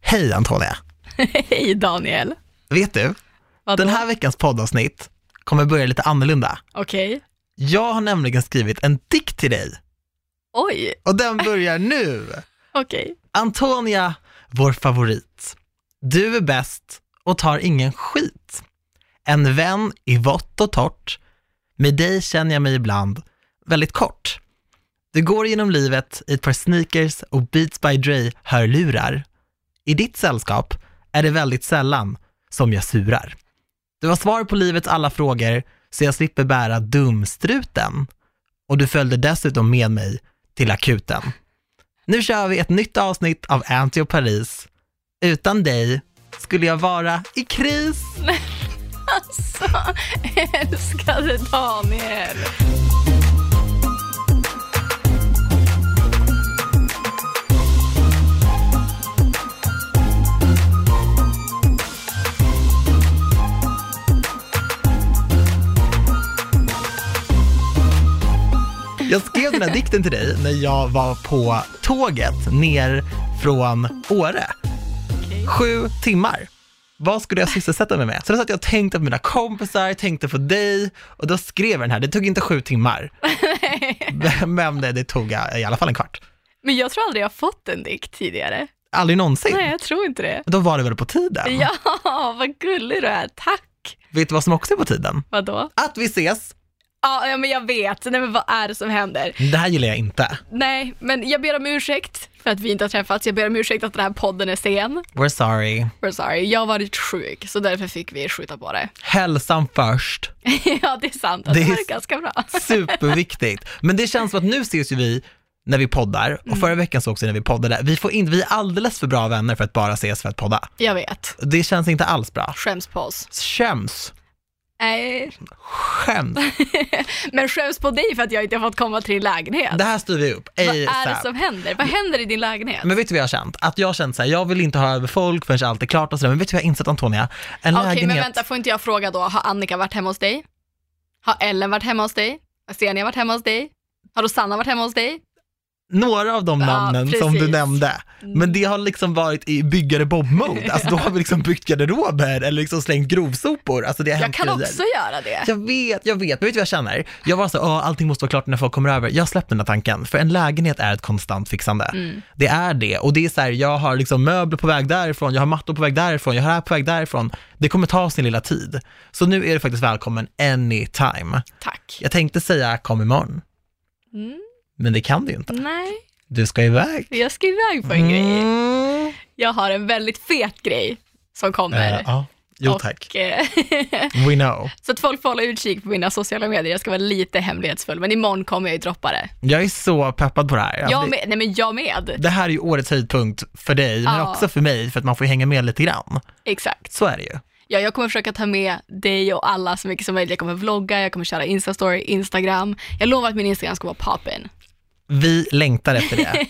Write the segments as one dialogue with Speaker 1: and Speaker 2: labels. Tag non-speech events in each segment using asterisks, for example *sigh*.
Speaker 1: Hej Antonia!
Speaker 2: Hej Daniel!
Speaker 1: Vet du,
Speaker 2: Vadå?
Speaker 1: den här veckans poddavsnitt kommer börja lite annorlunda.
Speaker 2: Okej.
Speaker 1: Jag har nämligen skrivit en dikt till dig
Speaker 2: Oj,
Speaker 1: och den börjar nu.
Speaker 2: okej.
Speaker 1: Antonia, vår favorit. Du är bäst och tar ingen skit. En vän i vått och torrt. Med dig känner jag mig ibland väldigt kort. Du går genom livet i ett par sneakers och Beats by Dre hörlurar. I ditt sällskap är det väldigt sällan som jag surar. Du har svar på livets alla frågor så jag slipper bära dumstruten. Och du följde dessutom med mig till akuten. Nu kör vi ett nytt avsnitt av Anty och Paris. Utan dig skulle jag vara i kris.
Speaker 2: Alltså, älskade Daniel.
Speaker 1: Jag skrev den här dikten till dig när jag var på tåget ner från Åre.
Speaker 2: Okej.
Speaker 1: Sju timmar. Vad skulle jag sysselsätta mig med? Så då satt jag och tänkte på mina kompisar, tänkte på dig och då skrev jag den här. Det tog inte sju
Speaker 2: *laughs*
Speaker 1: timmar, men det, det tog eh, i alla fall en kvart.
Speaker 2: Men jag tror aldrig jag fått en dikt tidigare.
Speaker 1: Aldrig någonsin.
Speaker 2: Nej, jag tror inte det.
Speaker 1: Då var det väl på tiden?
Speaker 2: Ja, vad gullig du är. Tack.
Speaker 1: Vet du vad som också är på tiden?
Speaker 2: Vadå?
Speaker 1: Att vi ses.
Speaker 2: Ja, ja, men jag vet. Nej, men vad är det som händer?
Speaker 1: Det här gillar jag inte.
Speaker 2: Nej, men jag ber om ursäkt för att vi inte har träffats. Jag ber om ursäkt att den här podden är sen.
Speaker 1: We're sorry.
Speaker 2: We're sorry. Jag har varit sjuk, så därför fick vi skjuta på det. *laughs*
Speaker 1: Hälsan först.
Speaker 2: ja, det är sant.
Speaker 1: Det
Speaker 2: Alltså, det
Speaker 1: är
Speaker 2: var ganska bra.
Speaker 1: Superviktigt. Men det känns som att nu ses ju vi när vi poddar
Speaker 2: Mm.
Speaker 1: och förra veckan så också när vi poddade. Vi, får in, vi är alldeles för bra vänner för att bara ses för att podda.
Speaker 2: Jag vet.
Speaker 1: Det känns inte alls bra.
Speaker 2: Skäms på oss.
Speaker 1: Skäms.
Speaker 2: Nej,
Speaker 1: Skäms.
Speaker 2: men skäms på dig för att jag inte har fått komma till din lägenhet.
Speaker 1: Det här styr vi upp.
Speaker 2: Vad är det
Speaker 1: ASAP.
Speaker 2: som händer? Vad händer i din lägenhet?
Speaker 1: Men vet du vad jag har känt? Att jag har känt så här, jag vill inte ha över folk förrän allt är klart och sådär. Men vet du vad jag har insett Antonia? En
Speaker 2: Okej, men
Speaker 1: lägenhet...
Speaker 2: vänta, får inte jag fråga då, har Annika varit hemma hos dig? Har Ellen varit hemma hos dig? Har Xenia varit hemma hos dig? Har Rosanna varit hemma hos dig?
Speaker 1: Några av de
Speaker 2: Ja,
Speaker 1: namnen som du
Speaker 2: precis.
Speaker 1: nämnde. Men det har liksom varit i byggare Bob-mode. Alltså då har vi liksom byggt garderober eller liksom slängt grovsopor. Alltså det har
Speaker 2: Jag
Speaker 1: hänt
Speaker 2: kan
Speaker 1: grejer.
Speaker 2: också göra det.
Speaker 1: Jag vet, jag vet. Men vet du vad jag känner? Jag var så, "Åh, allting måste vara klart när folk kommer över. Jag släppte den här tanken, för en lägenhet är ett konstant fixande.
Speaker 2: Mm.
Speaker 1: Det är det. Och det är så här, jag har liksom möbler på väg därifrån, jag har mattor på väg därifrån, jag har det här på väg därifrån. Det kommer ta sin lilla tid. Så nu är du faktiskt välkommen anytime.
Speaker 2: Tack.
Speaker 1: Jag tänkte säga kom imorgon,
Speaker 2: Mm,
Speaker 1: men det kan du ju inte.
Speaker 2: nej,
Speaker 1: Du ska iväg.
Speaker 2: jag ska iväg på en grej.
Speaker 1: Mm.
Speaker 2: Jag har en väldigt fet grej som kommer.
Speaker 1: Eh, ja. Jo
Speaker 2: Och,
Speaker 1: tack,
Speaker 2: eh, *laughs*
Speaker 1: we know.
Speaker 2: så att folk får hålla utkik på mina sociala medier. Jag ska vara lite hemlighetsfull, men imorgon kommer jag ju droppa det.
Speaker 1: Jag är så peppad på det här.
Speaker 2: Jag
Speaker 1: det,
Speaker 2: med, nej men jag med.
Speaker 1: det här är ju årets höjdpunkt för dig, men
Speaker 2: Ja.
Speaker 1: också för mig, för att man får ju hänga med lite grann.
Speaker 2: Exakt.
Speaker 1: Så är det ju.
Speaker 2: Ja, jag kommer försöka ta med dig och alla så mycket som möjligt. Jag kommer vlogga, jag kommer köra Insta-story, Instagram. Jag lovar att min Instagram ska vara poppin.
Speaker 1: Vi längtar efter
Speaker 2: *laughs*
Speaker 1: det.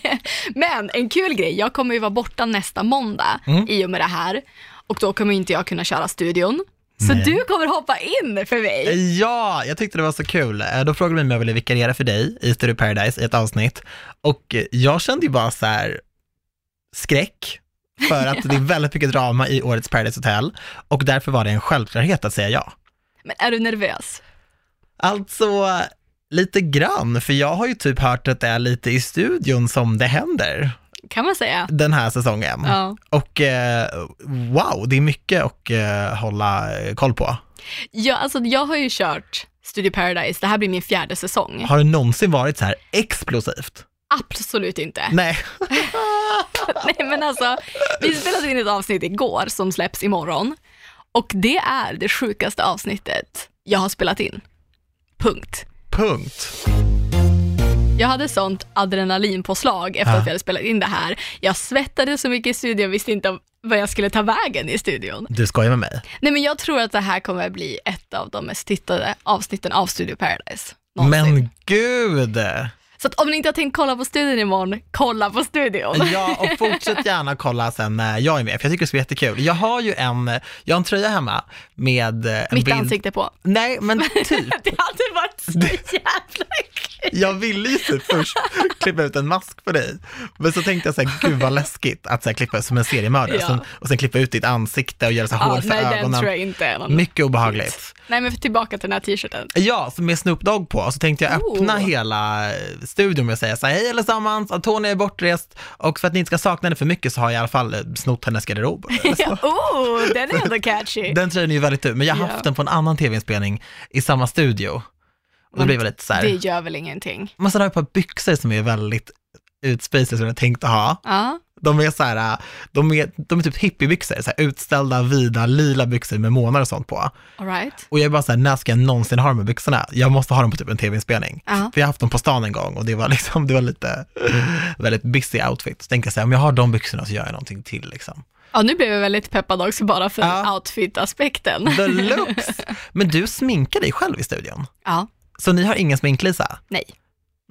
Speaker 2: Men en kul grej, jag kommer ju vara borta nästa måndag i och med det här. Och då kommer inte jag kunna köra studion. Så
Speaker 1: Nej.
Speaker 2: du kommer hoppa in för mig.
Speaker 1: ja, jag tyckte det var så kul. Eh, Då frågade de om jag ville vikariera för dig i Studio Paradise i ett avsnitt. Och eh, jag kände ju bara så här skräck för att
Speaker 2: *laughs*
Speaker 1: det är väldigt mycket drama i årets Paradise Hotel och därför var det en självklarhet att säga ja.
Speaker 2: Men är du nervös?
Speaker 1: Alltså, lite grann, för jag har ju typ hört att det är lite i studion som det händer
Speaker 2: Kan man säga.
Speaker 1: den här säsongen.
Speaker 2: Ja.
Speaker 1: Och eh, wow, det är mycket att eh, hålla eh, koll på.
Speaker 2: Ja, alltså, jag har ju kört Studio Paradise, det här blir min fjärde säsong.
Speaker 1: Har det någonsin varit så här explosivt?
Speaker 2: Absolut inte.
Speaker 1: Nej. *laughs*
Speaker 2: *laughs* Nej men alltså, vi spelade in ett avsnitt igår som släpps imorgon och det är det sjukaste avsnittet jag har spelat in. Punkt.
Speaker 1: Punkt.
Speaker 2: Jag hade sånt adrenalinpåslag efter
Speaker 1: Ja.
Speaker 2: att vi hade spelat in det här. Jag svettade så mycket i studion, visste inte om vad jag skulle ta vägen i studion.
Speaker 1: Du skojar med mig.
Speaker 2: Nej men jag tror att det här kommer bli ett av de mest tittade avsnitten av Studio Paradise. någonsin.
Speaker 1: Men gud!
Speaker 2: Så att om ni inte har tänkt kolla på studion imorgon, kolla på studion.
Speaker 1: Ja, och fortsätt gärna kolla sen när jag är med, för jag tycker det ska bli jättekul. Jag har ju en, jag har en tröja hemma med eh, en
Speaker 2: Mitt
Speaker 1: bild.
Speaker 2: ansikte på. *laughs*
Speaker 1: Nej, men typ.
Speaker 2: Det hade varit så jävla kul.
Speaker 1: Jag ville ju typ först klippa ut en mask på dig, men så tänkte jag så här, gud vad läskigt att så här, klippa som en seriemördare
Speaker 2: Ja.
Speaker 1: och sen, och sen klippa ut ditt ansikte och göra så här
Speaker 2: Ja,
Speaker 1: hål för
Speaker 2: nej, den tror
Speaker 1: ögonen.
Speaker 2: jag inte. är någon-
Speaker 1: Mycket obehagligt.
Speaker 2: Nej, men tillbaka till den
Speaker 1: *laughs*
Speaker 2: här t-shirten.
Speaker 1: Ja, så med Snoop Dogg på, och så tänkte jag öppna
Speaker 2: Oh.
Speaker 1: hela eh, studion med att säga så här, hej allesammans, Antonija är bortrest och för att ni inte ska sakna henne för mycket så har jag i alla fall eh, snott hennes garderob. Eller så.
Speaker 2: Ja, *laughs* oh, den är ändå catchy.
Speaker 1: Den tröjan är ju väldigt dyr, men jag har
Speaker 2: Ja.
Speaker 1: haft den på en annan tv-inspelning i samma studio. Och då blir det lite så
Speaker 2: Det
Speaker 1: här,
Speaker 2: gör väl ingenting.
Speaker 1: men sen har jag ett par byxor som är väldigt utspejsade som jag tänkte ha.
Speaker 2: Ja.
Speaker 1: De är så här, äh, de är, de är typ hippiebyxor, så här utställda, vida, lila byxor med månar och sånt på.
Speaker 2: All right.
Speaker 1: Och jag är bara så här, när ska jag någonsin ha de här byxorna? Jag måste ha dem på typ en tv-inspelning.
Speaker 2: Ja.
Speaker 1: För jag har haft dem på stan en gång och det var liksom, det var lite, väldigt busy outfit. Så tänkte jag så här, om jag har de byxorna så gör jag någonting till liksom.
Speaker 2: ja, nu blev jag väldigt peppad också bara för
Speaker 1: Ja.
Speaker 2: outfit-aspekten.
Speaker 1: The looks! Men du sminkar dig själv i studion.
Speaker 2: *laughs* Ja,
Speaker 1: Så ni har ingen sminklisa?
Speaker 2: nej.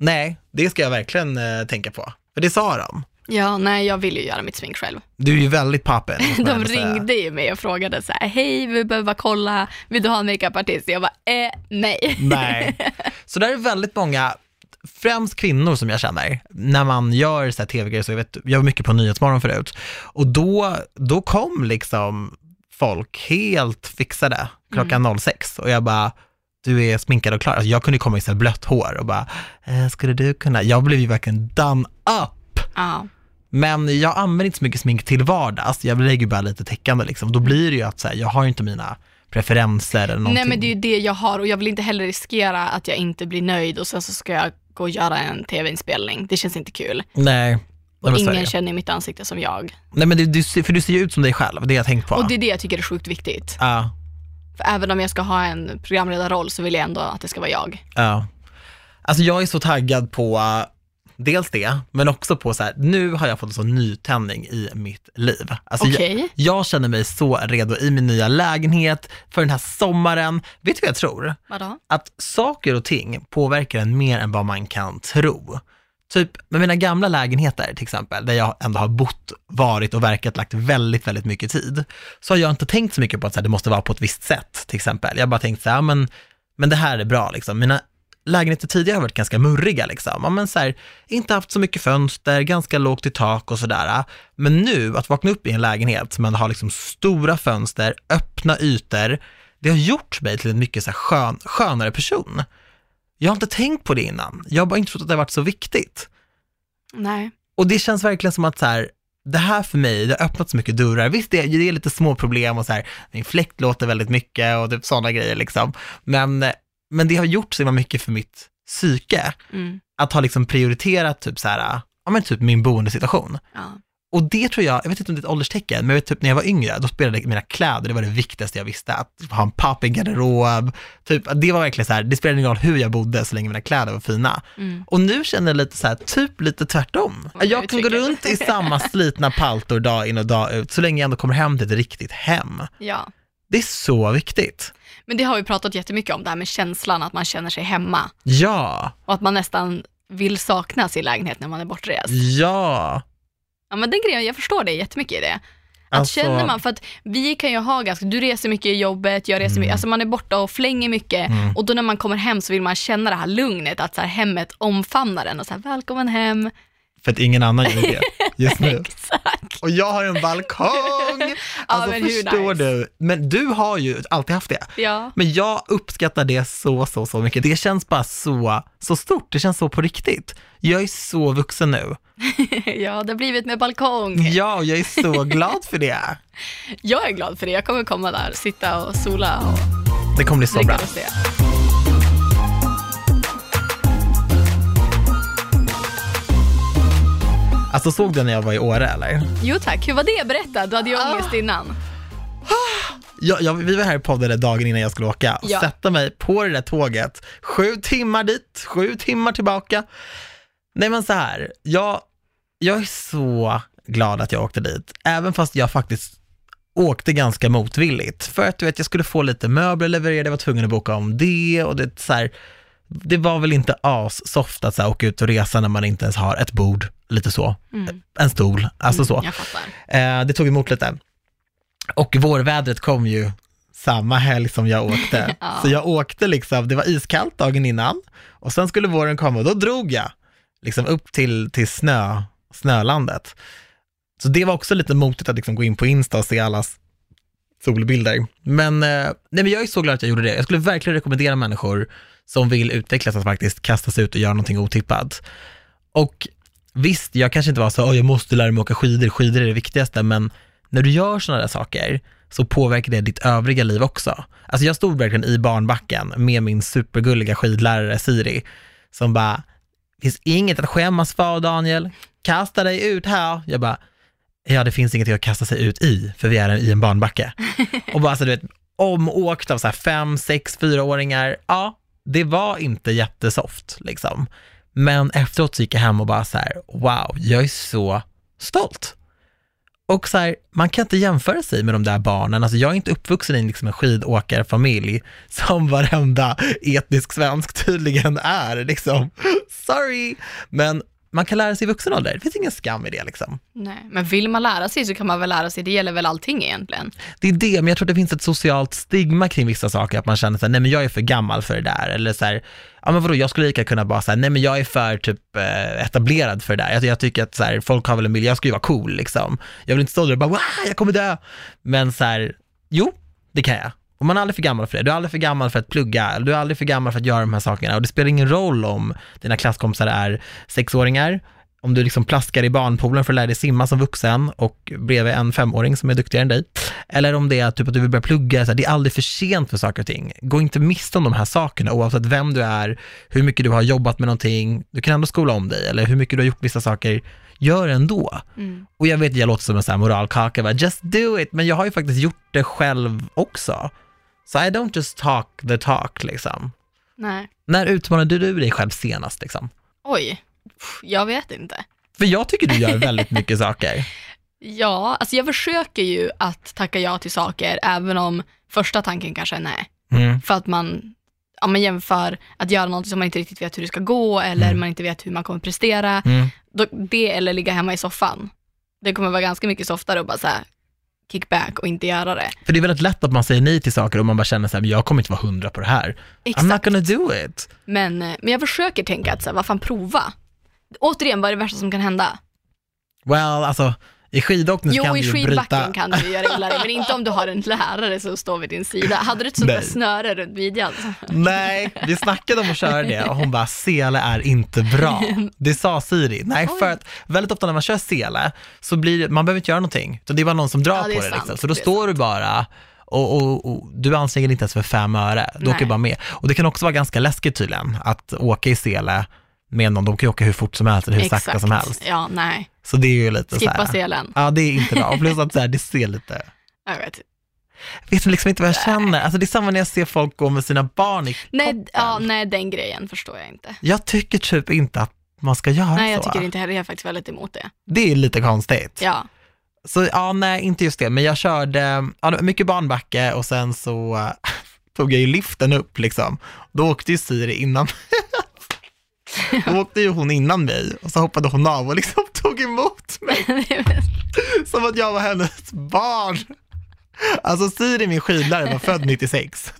Speaker 1: Nej, det ska jag verkligen eh, tänka på. För det sa de.
Speaker 2: Ja, nej, jag vill ju göra mitt smink själv.
Speaker 1: Du är ju väldigt pappen. måste man
Speaker 2: De
Speaker 1: ändå säga.
Speaker 2: ringde ju mig och frågade så här, hej, vi behöver bara kolla, vill du ha en makeupartist? Jag bara, eh, nej.
Speaker 1: Nej. *laughs* Så där är väldigt många, främst kvinnor som jag känner, när man gör så här tv-grejer, så jag, vet, jag var mycket på Nyhetsmorgon förut, och då, då kom liksom folk helt fixade
Speaker 2: Mm.
Speaker 1: klockan 06 och jag bara, du är sminkad och klar. Alltså jag kunde komma i så här blött hår och bara, eh, skulle du kunna? Jag blev ju verkligen done up.
Speaker 2: Ja,
Speaker 1: Men jag använder inte så mycket smink till vardags, jag lägger ju bara lite täckande liksom. Då blir det ju att så här, jag har ju inte mina preferenser eller någonting.
Speaker 2: nej men det är ju det jag har och jag vill inte heller riskera att jag inte blir nöjd och sen så ska jag gå och göra en tv-inspelning. Det känns inte kul.
Speaker 1: Nej. Nej, men så är det.
Speaker 2: Ingen känner mitt ansikte som jag.
Speaker 1: Nej men du, du, ser- för du ser ju ut som dig själv, det har jag tänkt på.
Speaker 2: Och det är det jag tycker är sjukt viktigt.
Speaker 1: Ja,
Speaker 2: För även om jag ska ha en programledarroll så vill jag ändå att det ska vara jag.
Speaker 1: ja. Alltså jag är så taggad på äh, dels det, men också på så här, nu har jag fått en sån nytändning i mitt liv. Alltså jag,
Speaker 2: Okej?
Speaker 1: jag känner mig så redo i min nya lägenhet, för den här sommaren. Vet du vad jag tror?
Speaker 2: Vadå?
Speaker 1: Att saker och ting påverkar en mer än vad man kan tro. Typ med mina gamla lägenheter till exempel, där jag ändå har bott, varit och verkat, lagt väldigt, väldigt mycket tid, så har jag inte tänkt så mycket på att så här, det måste vara på ett visst sätt till exempel. Jag har bara tänkt så här, ja, men, men det här är bra liksom. Mina lägenheter tidigare har varit ganska murriga liksom. Ja, men så här, inte haft så mycket fönster, ganska lågt i tak och sådär. Men nu, att vakna upp i en lägenhet som ändå har liksom stora fönster, öppna ytor, det har gjort mig till en mycket så här, skön, skönare person. Jag har inte tänkt på det innan. Jag har bara inte trott att det har varit så viktigt.
Speaker 2: Nej.
Speaker 1: Och det känns verkligen som att så här, det här för mig, det har öppnat så mycket dörrar. Visst, det är, det är lite små problem och så här, min fläkt låter väldigt mycket och typ sådana grejer liksom. Men, men det har gjort så himla mycket för mitt psyke,
Speaker 2: Mm.
Speaker 1: att ha liksom prioriterat typ så här, ja men typ min boendesituation.
Speaker 2: Ja.
Speaker 1: Och det tror jag, jag vet inte om det är ett ålderstecken, men jag vet typ när jag var yngre, då spelade mina kläder, det var det viktigaste jag visste, att ha en pappig garderob, typ, att det var verkligen så här, det spelade ingen roll hur jag bodde så länge mina kläder var fina.
Speaker 2: Mm.
Speaker 1: Och nu känner jag lite så här, typ lite tvärtom.
Speaker 2: Vad
Speaker 1: jag kan gå
Speaker 2: uttrycker.
Speaker 1: runt
Speaker 2: *laughs*
Speaker 1: i samma slitna paltor dag in och dag ut, så länge jag ändå kommer hem till ett riktigt hem.
Speaker 2: ja.
Speaker 1: Det är så viktigt.
Speaker 2: Men det har vi pratat jättemycket om, det här med känslan att man känner sig hemma
Speaker 1: Ja,
Speaker 2: och att man nästan vill sakna sin lägenhet när man är bortrest.
Speaker 1: ja.
Speaker 2: Ja men den grejen, jag förstår dig jättemycket i det. Att
Speaker 1: Alltså-
Speaker 2: känner man, för att vi kan ju ha ganska, du reser mycket i jobbet, jag reser mycket, alltså man är borta och flänger mycket
Speaker 1: Mm.
Speaker 2: och då när man kommer hem så vill man känna det här lugnet, att så här hemmet omfamnar en och så här välkommen hem.
Speaker 1: För att ingen annan gör
Speaker 2: *laughs*
Speaker 1: det just nu. *laughs*
Speaker 2: Exakt.
Speaker 1: Och jag har en balkong! Alltså
Speaker 2: men hur
Speaker 1: förstår
Speaker 2: nice.
Speaker 1: du? Men du har ju alltid haft det.
Speaker 2: Ja.
Speaker 1: Men jag uppskattar det så, så, så mycket. Det känns bara så, så stort. Det känns så på riktigt. Jag är så vuxen nu.
Speaker 2: *laughs* ja, det har blivit med balkong.
Speaker 1: Ja, och jag är så glad för det.
Speaker 2: Jag är glad för det, jag kommer komma där, sitta och sola och
Speaker 1: Det kommer bli så
Speaker 2: dricka
Speaker 1: bra.
Speaker 2: rosé.
Speaker 1: Alltså såg du när jag var i Åre eller?
Speaker 2: Jo tack, hur var det? Berätta, du hade ju
Speaker 1: Ah.
Speaker 2: ångest innan.
Speaker 1: Jag, jag, vi var här i podden dagen innan jag skulle åka och
Speaker 2: Ja.
Speaker 1: sätta mig på det där tåget, sju timmar dit, sju timmar tillbaka. Nej men så här, jag, jag är så glad att jag åkte dit, även fast jag faktiskt åkte ganska motvilligt. För att du vet, jag skulle få lite möbler levererade, jag var tvungen att boka om det och det är så här, det var väl inte assoft att så här, åka ut och resa när man inte ens har ett bord, lite så,
Speaker 2: Mm.
Speaker 1: en stol, alltså
Speaker 2: Mm,
Speaker 1: så.
Speaker 2: Jag fattar.
Speaker 1: Eh, det tog emot lite. Och vårvädret kom ju samma helg som jag åkte.
Speaker 2: Ja.
Speaker 1: Så jag åkte liksom, det var iskallt dagen innan och sen skulle våren komma och då drog jag liksom upp till, till snö, snölandet. Så det var också lite motigt att liksom gå in på Insta och se allas solbilder. Men, eh, nej men jag är så glad att jag gjorde det. Jag skulle verkligen rekommendera människor som vill utvecklas att faktiskt kasta sig ut och göra någonting otippat. Och visst, jag kanske inte var så, "Åh, jag måste lära mig åka skidor, skidor är det viktigaste, men när du gör sådana där saker så påverkar det ditt övriga liv också. Alltså jag stod verkligen i barnbacken med min supergulliga skidlärare Siri, som bara, finns inget att skämmas för Daniel, kasta dig ut här. Jag bara, ja det finns ingenting att kasta sig ut i, för vi är i en barnbacke. *laughs* Och bara så du vet, omåkt av så här fem, sex, fyraåringar. Ja, det var inte jättesoft liksom. Men efteråt så gick jag hem och bara så här, wow, jag är så stolt. Och så här, man kan inte jämföra sig med de där barnen. Alltså jag är inte uppvuxen i liksom en skidåkarfamilj *laughs* som varenda etnisk svensk tydligen är. Liksom. *laughs* Sorry! Men man kan lära sig i vuxen ålder. Det finns ingen skam i det. Liksom.
Speaker 2: Nej. Men vill man lära sig så kan man väl lära sig, det gäller väl allting egentligen.
Speaker 1: Det är det, men jag tror att det finns ett socialt stigma kring vissa saker, att man känner sig nej men jag är för gammal för det där, eller så här, ja men vadå, jag skulle lika kunna bara säga nej men jag är för typ eh, etablerad för det där, jag, jag tycker att så här, folk har väl en bild, jag ska ju vara cool liksom. Jag vill inte stå där och bara, wow, jag kommer dö. Men så här, jo, det kan jag. Och man är aldrig för gammal för det, du är aldrig för gammal för att plugga, du är aldrig för gammal för att göra de här sakerna, och det spelar ingen roll om dina klasskompisar är sexåringar, om du liksom plaskar i barnpoolen för att lära dig simma som vuxen och bredvid en femåring som är duktigare än dig. Eller om det är typ att du vill börja plugga, så här, det är aldrig för sent för saker och ting. Gå inte miste om de här sakerna oavsett vem du är, hur mycket du har jobbat med någonting, du kan ändå skola om dig eller hur mycket du har gjort vissa saker, gör ändå.
Speaker 2: Mm.
Speaker 1: Och jag vet, jag låter som en sån här moralkaka, bara, just do it, men jag har ju faktiskt gjort det själv också. Så I don't just talk the talk liksom.
Speaker 2: Nej.
Speaker 1: När utmanade du dig själv senast liksom?
Speaker 2: Oj, Pff, jag vet inte.
Speaker 1: För jag tycker du gör
Speaker 2: *laughs*
Speaker 1: väldigt mycket saker.
Speaker 2: Ja, alltså jag försöker ju att tacka ja till saker, även om första tanken kanske är nej.
Speaker 1: Mm.
Speaker 2: För att man, ja, man jämför att göra något som man inte riktigt vet hur det ska gå eller
Speaker 1: Mm.
Speaker 2: man inte vet hur man kommer prestera.
Speaker 1: Mm.
Speaker 2: Då, det eller ligga hemma i soffan. Det kommer vara ganska mycket softare att bara så här, kick back och inte göra det.
Speaker 1: För det är väldigt lätt att man säger nej till saker och man bara känner så här, "Men jag kommer inte vara hundra på det här.
Speaker 2: Exakt.
Speaker 1: I'm not gonna do it.
Speaker 2: Men, eh, men jag försöker tänka att så här, vad fan prova. Återigen, vad är det värsta som kan hända?
Speaker 1: Well, alltså i skidåkning så
Speaker 2: Jo,
Speaker 1: kan
Speaker 2: i
Speaker 1: du ju bryta.
Speaker 2: skidbacken kan du ju göra illa dig, men inte om du har en lärare som står vid din sida. Hade du ett sånt
Speaker 1: Nej.
Speaker 2: där snöre runt midjan?
Speaker 1: Nej, vi snackade om att köra det och hon bara, sele är inte
Speaker 2: *laughs*
Speaker 1: bra. Det sa Siri. Nej,
Speaker 2: Oj.
Speaker 1: för att väldigt ofta när man kör sele så blir det, man behöver inte göra någonting. Så det är bara någon som drar
Speaker 2: Ja, det är
Speaker 1: på det.
Speaker 2: sant,
Speaker 1: Liksom. Så då
Speaker 2: det är
Speaker 1: står du bara och, och, och du anstränger inte ens för fem öre. Du
Speaker 2: Nej.
Speaker 1: åker bara med. Och det kan också vara ganska läskigt tydligen att åka i sele med någon. De kan ju åka hur fort som helst eller hur sakta som helst.
Speaker 2: Ja, nej.
Speaker 1: Så det är ju lite så
Speaker 2: Skippa
Speaker 1: här.
Speaker 2: selen.
Speaker 1: Ja, det är inte bra. Och Plus att så här, det ser lite...
Speaker 2: Jag vet.
Speaker 1: Vet du liksom inte vad
Speaker 2: *laughs*
Speaker 1: jag känner? Alltså det är samma när jag ser folk gå med sina barn i
Speaker 2: Nej,
Speaker 1: toppen.
Speaker 2: ja, nej, den grejen förstår jag inte.
Speaker 1: Jag tycker typ inte att man ska göra
Speaker 2: Nej, jag
Speaker 1: så.
Speaker 2: tycker inte heller, jag är faktiskt väldigt emot det.
Speaker 1: Det är lite konstigt.
Speaker 2: Ja, *laughs*
Speaker 1: Så ja, nej, inte just det, men jag körde ja, det var mycket barnbacke och sen så *laughs* eh, tog jag ju liften upp liksom. Då åkte ju Siri innan. *laughs* Då åkte ju hon innan mig och så hoppade hon av och liksom *laughs* tog emot mig. Som att jag var hennes barn. Alltså Siri, min skidlärare, var född 96.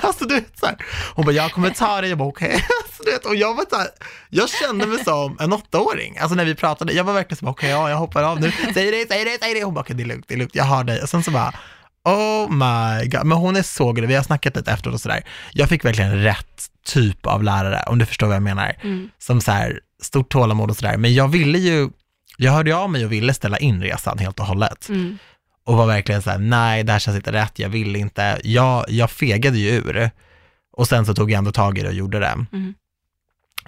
Speaker 1: Alltså du vet såhär, hon bara jag kommer ta dig, jag bara okej. *laughs* Alltså, du vet, och jag var såhär, jag kände mig som en åttaåring. Alltså när vi pratade, jag var verkligen som okej, ja jag hoppar av nu. *laughs* Säg det, säg det, säg det. Hon bara okej det är lugnt, det är lugnt, jag har dig. Och sen så bara, oh my god. Men hon är så gullig, vi har snackat lite efteråt och sådär. Jag fick verkligen rätt typ av lärare, om du förstår vad jag menar.
Speaker 2: Mm.
Speaker 1: Som såhär, stort tålamod och sådär. Men jag ville ju, jag hörde ju av mig och ville ställa in resan helt och hållet
Speaker 2: mm.
Speaker 1: och var verkligen så här, nej det här känns inte rätt, jag vill inte. Jag, jag fegade ju ur och sen så tog jag ändå tag i det och gjorde det.
Speaker 2: Mm.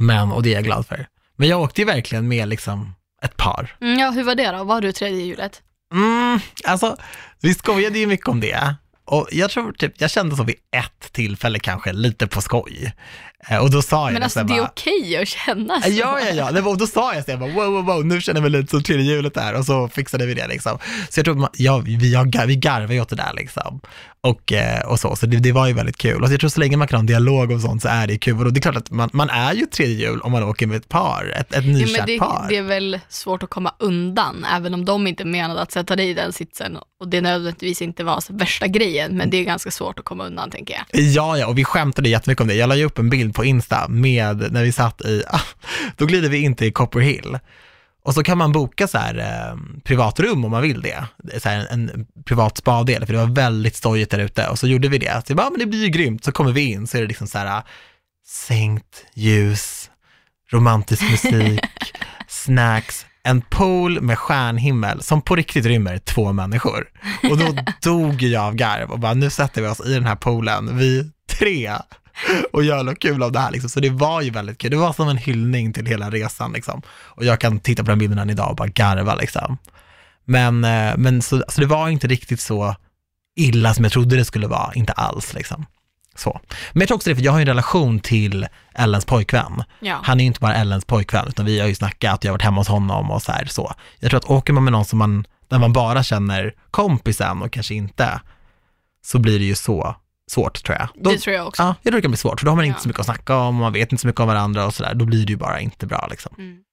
Speaker 1: Men, och det är jag glad för. Men jag åkte ju verkligen med liksom ett par.
Speaker 2: Mm, ja, hur var det då? Var du tredje hjulet?
Speaker 1: Mm, alltså, vi skojade ju mycket om det Och jag tror typ, jag kände så vid ett tillfälle kanske, lite på skoj. Eh, Och då sa jag
Speaker 2: Men alltså
Speaker 1: så här
Speaker 2: det är
Speaker 1: bara,
Speaker 2: okej att känna så.
Speaker 1: Ja, ja, ja. Det var, och då sa jag så jag bara, wow, wow, wow, nu känner vi lite som tredje hjulet där och så fixade vi det liksom. Så jag tror, man- ja, vi, jag, gar- vi garvade ju åt det där liksom. Och, eh, och så, så det, det var ju väldigt kul. Och jag tror så länge man kan ha en dialog och sånt så är det ju kul. Och det är klart att man, man är ju tredje hjul om man åker med ett par, ett, ett
Speaker 2: Jo,
Speaker 1: nykärt
Speaker 2: men det,
Speaker 1: par.
Speaker 2: det är väl svårt att komma undan, även om de inte menade att sätta dig i den sitsen. Och det nödvändigtvis inte var så värsta grejen, men det är ganska svårt att komma undan tänker jag.
Speaker 1: Ja, ja, och vi skämtade jättemycket om det. Jag la ju upp en bild på Insta med när vi satt i, *laughs* ah, då glider vi in till Copper Hill. Och så kan man boka så här eh, privatrum om man vill det, så här en, en privat spadel, för det var väldigt stojigt där ute. Och så gjorde vi det, så jag bara, ah, men det blir ju grymt. Så kommer vi in, så är det liksom så här, ah, sänkt ljus, romantisk musik, snacks, en pool med stjärnhimmel som på riktigt rymmer två människor. Och då dog jag av garv och bara, nu sätter vi oss i den här poolen, vi tre, och gör något kul av det här. Liksom. Så det var ju väldigt kul. Det var som en hyllning till hela resan. Liksom. Och jag kan titta på den bilden än idag och bara garva. Liksom. Men, eh, men så, så det var inte riktigt så illa som jag trodde det skulle vara, inte alls. Liksom. Så. Men jag tror också det, för jag har ju en relation till Ellens pojkvän.
Speaker 2: Ja.
Speaker 1: Han är ju inte bara Ellens pojkvän, utan vi har ju snackat, jag har varit hemma hos honom och så här så. Jag tror att åker man med någon som man, där man bara känner kompisen och kanske inte, så blir det ju så svårt tror jag. Då,
Speaker 2: Det tror jag också.
Speaker 1: Ja, jag tror det kan bli svårt, för då har man inte
Speaker 2: Ja.
Speaker 1: så mycket att snacka om, man vet inte så mycket om varandra och sådär, då blir det ju bara inte bra liksom.
Speaker 2: Mm.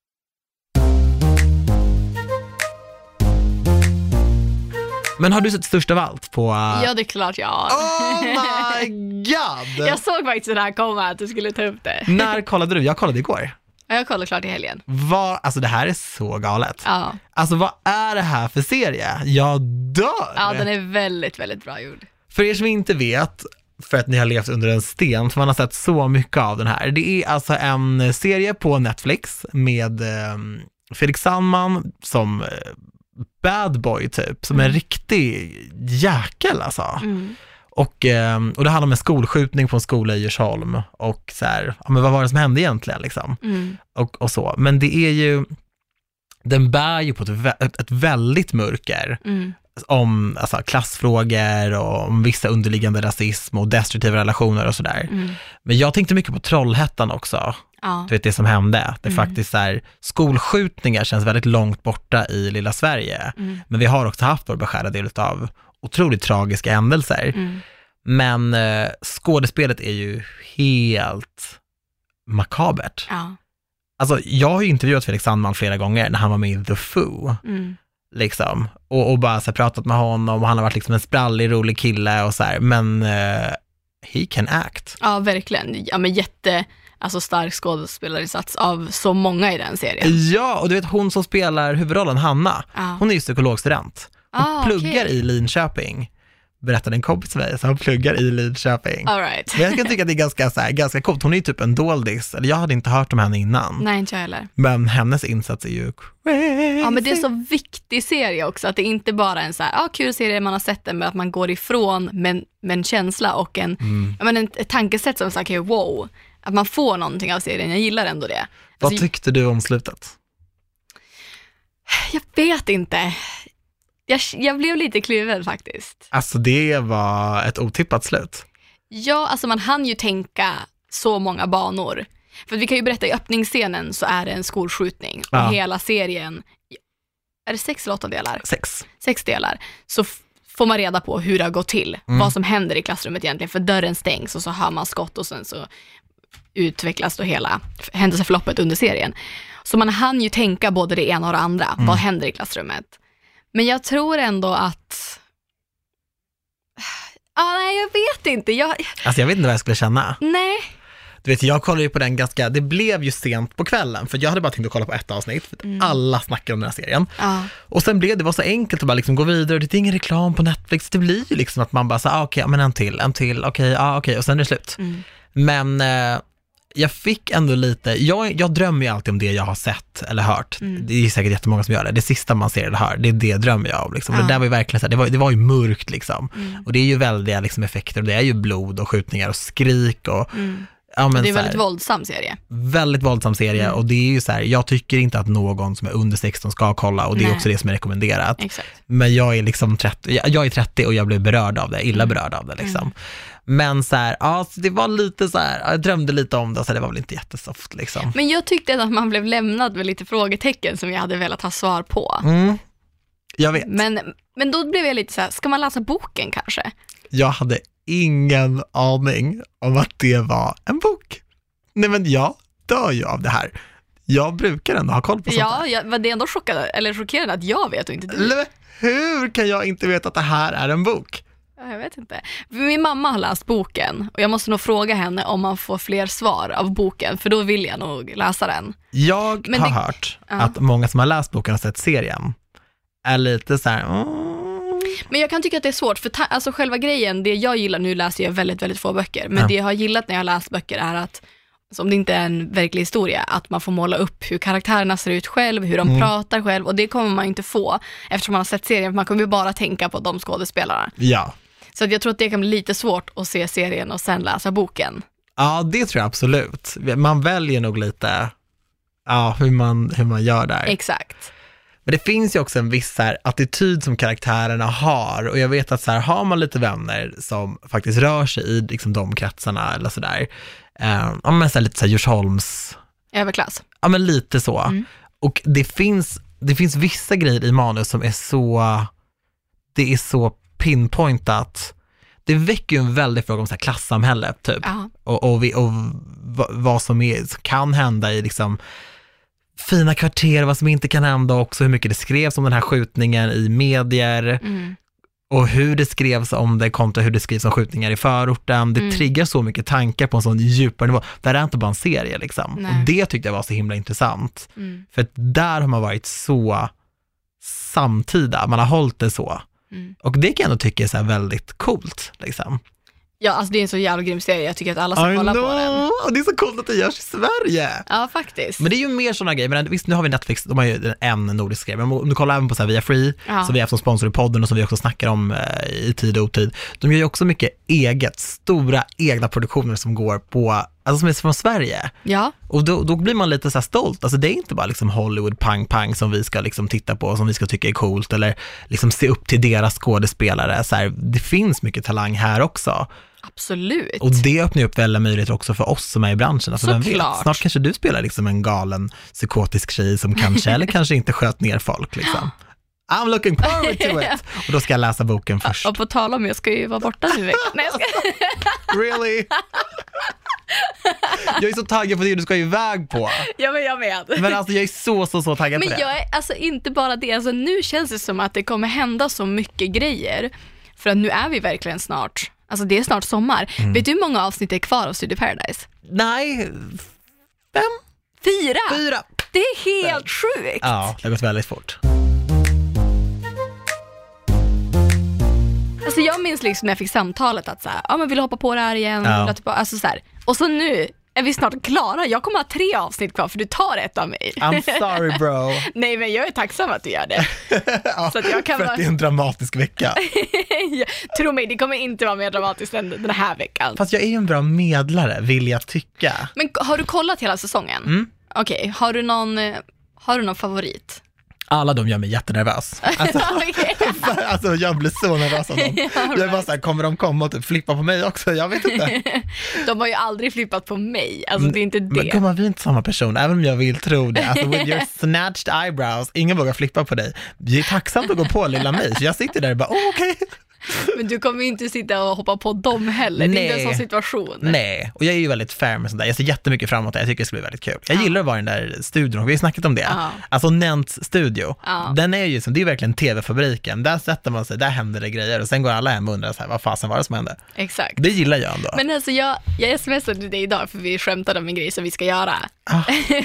Speaker 1: Men har du sett Störst av allt på... eh,
Speaker 2: Ja, det är klart jag har.
Speaker 1: Oh my god!
Speaker 2: *laughs* Jag såg faktiskt det här komma, att du skulle ta upp det.
Speaker 1: När kollade du? Jag kollade igår.
Speaker 2: Ja, Jag kollade klart i helgen.
Speaker 1: Vad, alltså det här är så galet.
Speaker 2: Ja,
Speaker 1: Alltså vad är det här för serie? Jag dör!
Speaker 2: ja den är väldigt, väldigt bra gjord.
Speaker 1: För er som inte vet, för att ni har levt under en sten, för man har sett så mycket av den här. Det är alltså en serie på Netflix med eh, Felix Sandman som eh, bad boy typ, som en riktig jäkel alltså.
Speaker 2: Mm,
Speaker 1: Och, eh, och det handlar om en skolskjutning på en skola i Djursholm och så här, ja, men vad var det som hände egentligen liksom?
Speaker 2: Mm.
Speaker 1: Och, och så. Men det är ju, den bär ju på ett, vä- ett, ett väldigt mörker
Speaker 2: Mm.
Speaker 1: om alltså, klassfrågor och om vissa underliggande rasism och destruktiva relationer och sådär.
Speaker 2: Mm.
Speaker 1: Men jag tänkte mycket på Trollhättan också,
Speaker 2: Ja.
Speaker 1: du vet det som hände. Det är
Speaker 2: Mm.
Speaker 1: faktiskt så här, skolskjutningar känns väldigt långt borta i lilla Sverige,
Speaker 2: Mm.
Speaker 1: men vi har också haft vår beskärda del av otroligt tragiska händelser.
Speaker 2: Mm.
Speaker 1: Men eh, skådespelet är ju helt makabert.
Speaker 2: Ja.
Speaker 1: Alltså jag har ju intervjuat Felix Sandman flera gånger när han var med i The Foo
Speaker 2: Mm.
Speaker 1: liksom. Och, och bara så här, pratat med honom och han har varit liksom en sprallig, rolig kille och så här. Men eh, he can act.
Speaker 2: ja, verkligen. Ja, men jätte, alltså stark skådespelarinsats av så många i den serien.
Speaker 1: Ja, och du vet hon som spelar huvudrollen, Hanna,
Speaker 2: Ja.
Speaker 1: hon är ju psykologstudent. Hon
Speaker 2: Ah, okej.
Speaker 1: pluggar i Linköping, berättade en kompis till mig, så hon pluggar i Linköping.
Speaker 2: All right.
Speaker 1: Men jag kan tycka att det är ganska, så här, ganska coolt, hon är ju typ en doldis, eller jag hade inte hört om henne innan,
Speaker 2: Nej, inte jag heller.
Speaker 1: men hennes insats är ju crazy.
Speaker 2: Ja, men det är en så viktig serie också, att det inte bara är en så här, ah, kul serie, man har sett den, men att man går ifrån med, med en känsla och en,
Speaker 1: Mm.
Speaker 2: ja, men en, ett tankesätt som säger okay, wow, att man får någonting av serien, jag gillar ändå det.
Speaker 1: Vad
Speaker 2: Alltså,
Speaker 1: tyckte du om slutet?
Speaker 2: jag vet inte. Jag, jag blev lite kluven faktiskt.
Speaker 1: Alltså det var ett otippat slut.
Speaker 2: Ja, alltså man hann ju tänka så många banor. För att vi kan ju berätta, i öppningsscenen så är det en skolskjutning och
Speaker 1: Ja.
Speaker 2: hela serien, är det sex eller åtta delar?
Speaker 1: Sex.
Speaker 2: sex delar, så f- får man reda på hur det har gått till,
Speaker 1: Mm.
Speaker 2: vad som händer i klassrummet egentligen, för dörren stängs och så hör man skott och sen så utvecklas då hela f- händelseförloppet under serien. Så man hann ju tänka både det ena och det andra,
Speaker 1: Mm.
Speaker 2: vad händer i klassrummet? Men jag tror ändå att, *sighs* ah, nej jag vet inte, jag,
Speaker 1: Alltså jag vet inte vad jag skulle känna.
Speaker 2: nej,
Speaker 1: Du vet, jag kollade ju på den ganska, det blev ju sent på kvällen, för jag hade bara tänkt att kolla på ett avsnitt, för att alla snackar om den här serien.
Speaker 2: ja,
Speaker 1: Och sen blev det, var så enkelt att bara liksom gå vidare, det är ingen reklam på Netflix, det blir ju liksom att man bara så ah, okej, ja, men en till, en till, okej, ja ah, okej, och sen är det slut.
Speaker 2: Mm.
Speaker 1: Men eh, jag fick ändå lite, jag, jag drömmer ju alltid om det jag har sett eller hört.
Speaker 2: Mm.
Speaker 1: Det är säkert jättemånga som gör det. Det sista man ser eller hör, det är det drömmer jag om. Liksom. Och Det
Speaker 2: Ja. Mm.
Speaker 1: där var ju verkligen så här, det var, det var ju mörkt liksom. Och det är ju väldiga liksom, effekter och det är ju blod och skjutningar och skrik och ja, men
Speaker 2: Mm. det är en
Speaker 1: så här,
Speaker 2: väldigt våldsam serie.
Speaker 1: väldigt våldsam serie
Speaker 2: Mm.
Speaker 1: och det är ju så här, jag tycker inte att någon som är under 16 ska kolla och det är
Speaker 2: Nej.
Speaker 1: också det som är rekommenderat.
Speaker 2: Exakt.
Speaker 1: Men jag är liksom 30, jag, jag är 30 och jag blev berörd av det, illa
Speaker 2: Mm.
Speaker 1: berörd av det liksom.
Speaker 2: Mm.
Speaker 1: Men så här, ja, så det var lite så här, jag drömde lite om det, så det var väl inte jättesoft liksom.
Speaker 2: Men jag tyckte att man blev lämnad med lite frågetecken som jag hade velat ha svar på.
Speaker 1: Mm. Jag vet,
Speaker 2: Men, men då blev jag lite så här, ska man läsa boken kanske?
Speaker 1: jag hade ingen aning om att det var en bok. Nej men jag dör ju av det här. Jag brukar ändå ha koll på sånt här.
Speaker 2: Ja, jag var det ändå chockad, eller chockerande att jag vet och inte du.
Speaker 1: Eller hur kan jag inte veta att det här är en bok?
Speaker 2: Ja, Jag vet inte. Min mamma har läst boken och jag måste nog fråga henne om man får fler svar av boken, för då vill jag nog läsa den.
Speaker 1: Jag
Speaker 2: Men
Speaker 1: har
Speaker 2: det-
Speaker 1: hört
Speaker 2: Ja.
Speaker 1: att många som har läst boken och sett serien är lite så här, mm,
Speaker 2: Men jag kan tycka att det är svårt, för ta- alltså själva grejen, det jag gillar, nu läser jag väldigt, väldigt få böcker, men
Speaker 1: Ja.
Speaker 2: det jag har gillat när jag har läst böcker är att, alltså om det inte är en verklig historia, att man får måla upp hur karaktärerna ser ut själv, hur de
Speaker 1: Mm.
Speaker 2: pratar själv, och det kommer man ju inte få eftersom man har sett serien, för man kommer ju bara tänka på de skådespelarna.
Speaker 1: ja.
Speaker 2: Så att jag tror att det kan bli lite svårt att se serien och sen läsa boken.
Speaker 1: Ja, det tror jag absolut. Man väljer nog lite ja, hur, man, hur man gör där.
Speaker 2: Exakt.
Speaker 1: Men det finns ju också en viss så här, attityd som karaktärerna har och jag vet att så här, har man lite vänner som faktiskt rör sig i liksom, de kretsarna eller sådär, eh, ja, men så här, lite så här Djursholms,
Speaker 2: Överklass.
Speaker 1: ja men lite så.
Speaker 2: Mm.
Speaker 1: Och det finns, det finns vissa grejer i manus som är så, det är så pinpointat. Det väcker ju en väldig fråga om så här klassamhälle, typ
Speaker 2: Ja.
Speaker 1: och, och, vi, och va- vad som är, kan hända i liksom fina kvarter, vad som inte kan hända också, hur mycket det skrevs om den här skjutningen i medier
Speaker 2: Mm.
Speaker 1: och hur det skrevs om det kontra hur det skrivs om skjutningar i förorten. Det
Speaker 2: Mm.
Speaker 1: triggar så mycket tankar på en sån djupare nivå. Det här är inte bara en serie liksom.
Speaker 2: Nej.
Speaker 1: Och det tyckte jag var så himla intressant.
Speaker 2: Mm.
Speaker 1: För att där har man varit så samtida, man har hållit det så.
Speaker 2: Mm.
Speaker 1: Och det kan jag ändå tycka är så här väldigt coolt. Liksom.
Speaker 2: Ja, alltså det är en så jävla grym serie, jag tycker att alla ska
Speaker 1: I
Speaker 2: Alltså, kolla på den.
Speaker 1: know! Och det är så coolt att det görs i Sverige.
Speaker 2: Ja, faktiskt.
Speaker 1: Men det är ju mer sådana grejer, men visst nu har vi Netflix, de har ju en nordisk grej, men om du kollar även på så här via Free,
Speaker 2: Ja.
Speaker 1: som vi har haft som sponsor i podden och som vi också snackar om eh, i tid och otid, de gör ju också mycket eget, stora egna produktioner som går på, alltså som är från Sverige.
Speaker 2: ja.
Speaker 1: Och då, då blir man lite så här stolt, alltså det är inte bara liksom Hollywood pang-pang som vi ska liksom titta på, som vi ska tycka är coolt eller liksom se upp till deras skådespelare, så här, det finns mycket talang här också.
Speaker 2: Absolut.
Speaker 1: Och det öppnar ju upp väldigt möjligheter också för oss som är i branschen. Alltså, vem vet?
Speaker 2: Såklart.
Speaker 1: Snart kanske du spelar liksom en galen psykotisk tjej som kanske eller kanske inte sköt ner folk. Liksom. I'm looking forward to
Speaker 2: *laughs*
Speaker 1: it! Och då ska jag läsa boken först.
Speaker 2: Och på tal om, jag ska ju vara borta nu. Nej, jag ska...
Speaker 1: Really? Jag är så taggad på det du ska iväg på.
Speaker 2: *laughs* Ja, men jag med.
Speaker 1: Men alltså jag är så, så, så taggad
Speaker 2: Men
Speaker 1: på det.
Speaker 2: jag är alltså inte bara det, alltså nu känns det som att det kommer hända så mycket grejer. För att nu är vi verkligen snart, alltså det är snart sommar. Vet du hur många avsnitt det är kvar av Studio Paradise?
Speaker 1: Nej, fem,
Speaker 2: Fyra!
Speaker 1: fyra.
Speaker 2: Det är helt sjukt!
Speaker 1: Ja, det har gått väldigt fort.
Speaker 2: Alltså jag minns liksom när jag fick samtalet att så här, ja men vill du hoppa på det här igen?
Speaker 1: Ja.
Speaker 2: Vill du hoppa på- Alltså så här. Och så nu är vi snart klara, jag kommer ha tre avsnitt kvar för du tar ett av mig.
Speaker 1: I'm sorry
Speaker 2: *laughs*
Speaker 1: bro.
Speaker 2: Nej men jag är tacksam att du gör det.
Speaker 1: Ja,
Speaker 2: Så att jag kan
Speaker 1: för att
Speaker 2: vara-
Speaker 1: det är en dramatisk vecka.
Speaker 2: *laughs* Ja, Tro mig, det kommer inte vara mer dramatiskt än den här veckan.
Speaker 1: Fast jag är ju en bra medlare, vill jag tycka.
Speaker 2: Men k- har du kollat hela säsongen?
Speaker 1: Mm.
Speaker 2: Okej, har du någon, eh, har du någon favorit?
Speaker 1: Alla de gör mig jättenervös. Alltså,
Speaker 2: *laughs* Okej.
Speaker 1: för- *laughs* alltså jag blir så nervös
Speaker 2: *laughs*
Speaker 1: av dem. jag är bara såhär, kommer de komma och typ flippa på mig också? Jag vet
Speaker 2: *laughs*
Speaker 1: inte.
Speaker 2: De har ju aldrig flippat på mig, alltså det är inte
Speaker 1: Mm, Men
Speaker 2: det.
Speaker 1: gumman, vi är inte samma person, även om jag vill tro det. Alltså with
Speaker 2: *laughs*
Speaker 1: your snatched eyebrows, ingen vågar flippa på dig. Det är tacksamt att gå på lilla mig, så jag sitter där och bara, oh, okej.
Speaker 2: Men du kommer ju inte sitta och hoppa på dem heller, det är inte
Speaker 1: Nej.
Speaker 2: en sån situation.
Speaker 1: Nej, och jag är ju väldigt fair med sånt där. Jag ser jättemycket fram emot det, jag tycker det ska bli väldigt kul. Jag
Speaker 2: Ja.
Speaker 1: gillar att vara i den där studion, och vi har ju snackat om det.
Speaker 2: Ja.
Speaker 1: Alltså Nents studio,
Speaker 2: Ja.
Speaker 1: den är ju som, det är ju verkligen tv-fabriken. Där sätter man sig, där händer det grejer och sen går alla hem och undrar så här, vad fasen var det som hände?
Speaker 2: Exakt.
Speaker 1: Det gillar jag ändå.
Speaker 2: Men alltså jag, jag smsade dig idag för vi skämtade om en grej som vi ska göra.
Speaker 1: Ah.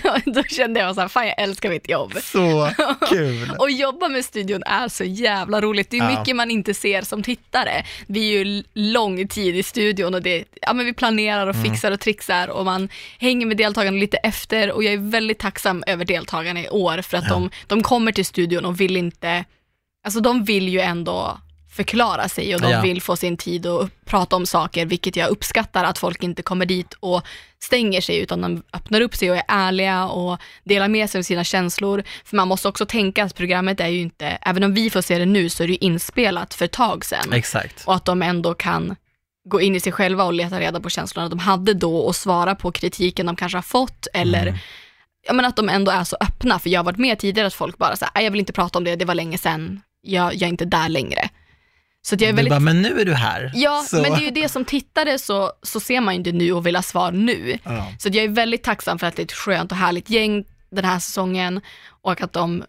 Speaker 2: *laughs* och då kände jag så här, fan jag älskar mitt jobb. *laughs*
Speaker 1: Så kul!
Speaker 2: Och jobba med studion är så jävla roligt. Det är
Speaker 1: Ja.
Speaker 2: mycket man inte ser som tittare. Vi är ju l- lång tid i studion och det, ja, men vi planerar och
Speaker 1: Mm.
Speaker 2: fixar och trixar och man hänger med deltagarna lite efter och jag är väldigt tacksam över deltagarna i år för att de, de kommer till studion och vill inte, alltså de vill ju ändå förklara sig och de
Speaker 1: Ja.
Speaker 2: vill få sin tid och upp- prata om saker, vilket jag uppskattar att folk inte kommer dit och stänger sig, utan de öppnar upp sig och är ärliga och delar med sig av sina känslor. För man måste också tänka att programmet är ju inte, även om vi får se det nu, så är det ju inspelat för ett tag sedan.
Speaker 1: Exakt.
Speaker 2: Och att de ändå kan gå in i sig själva och leta reda på känslorna de hade då och svara på kritiken de kanske har fått eller ja, men att de ändå är så öppna. För jag har varit med tidigare att folk bara säger jag vill inte prata om det, det var länge sedan, jag, jag är inte där längre. Så att jag är
Speaker 1: Du
Speaker 2: väldigt...
Speaker 1: bara, men nu är du här.
Speaker 2: Ja,
Speaker 1: Så-
Speaker 2: men det är ju det som tittare så, så ser man ju inte nu och vill ha svar nu.
Speaker 1: Ja.
Speaker 2: Så att jag är väldigt tacksam för att det är ett skönt och härligt gäng den här säsongen och att de,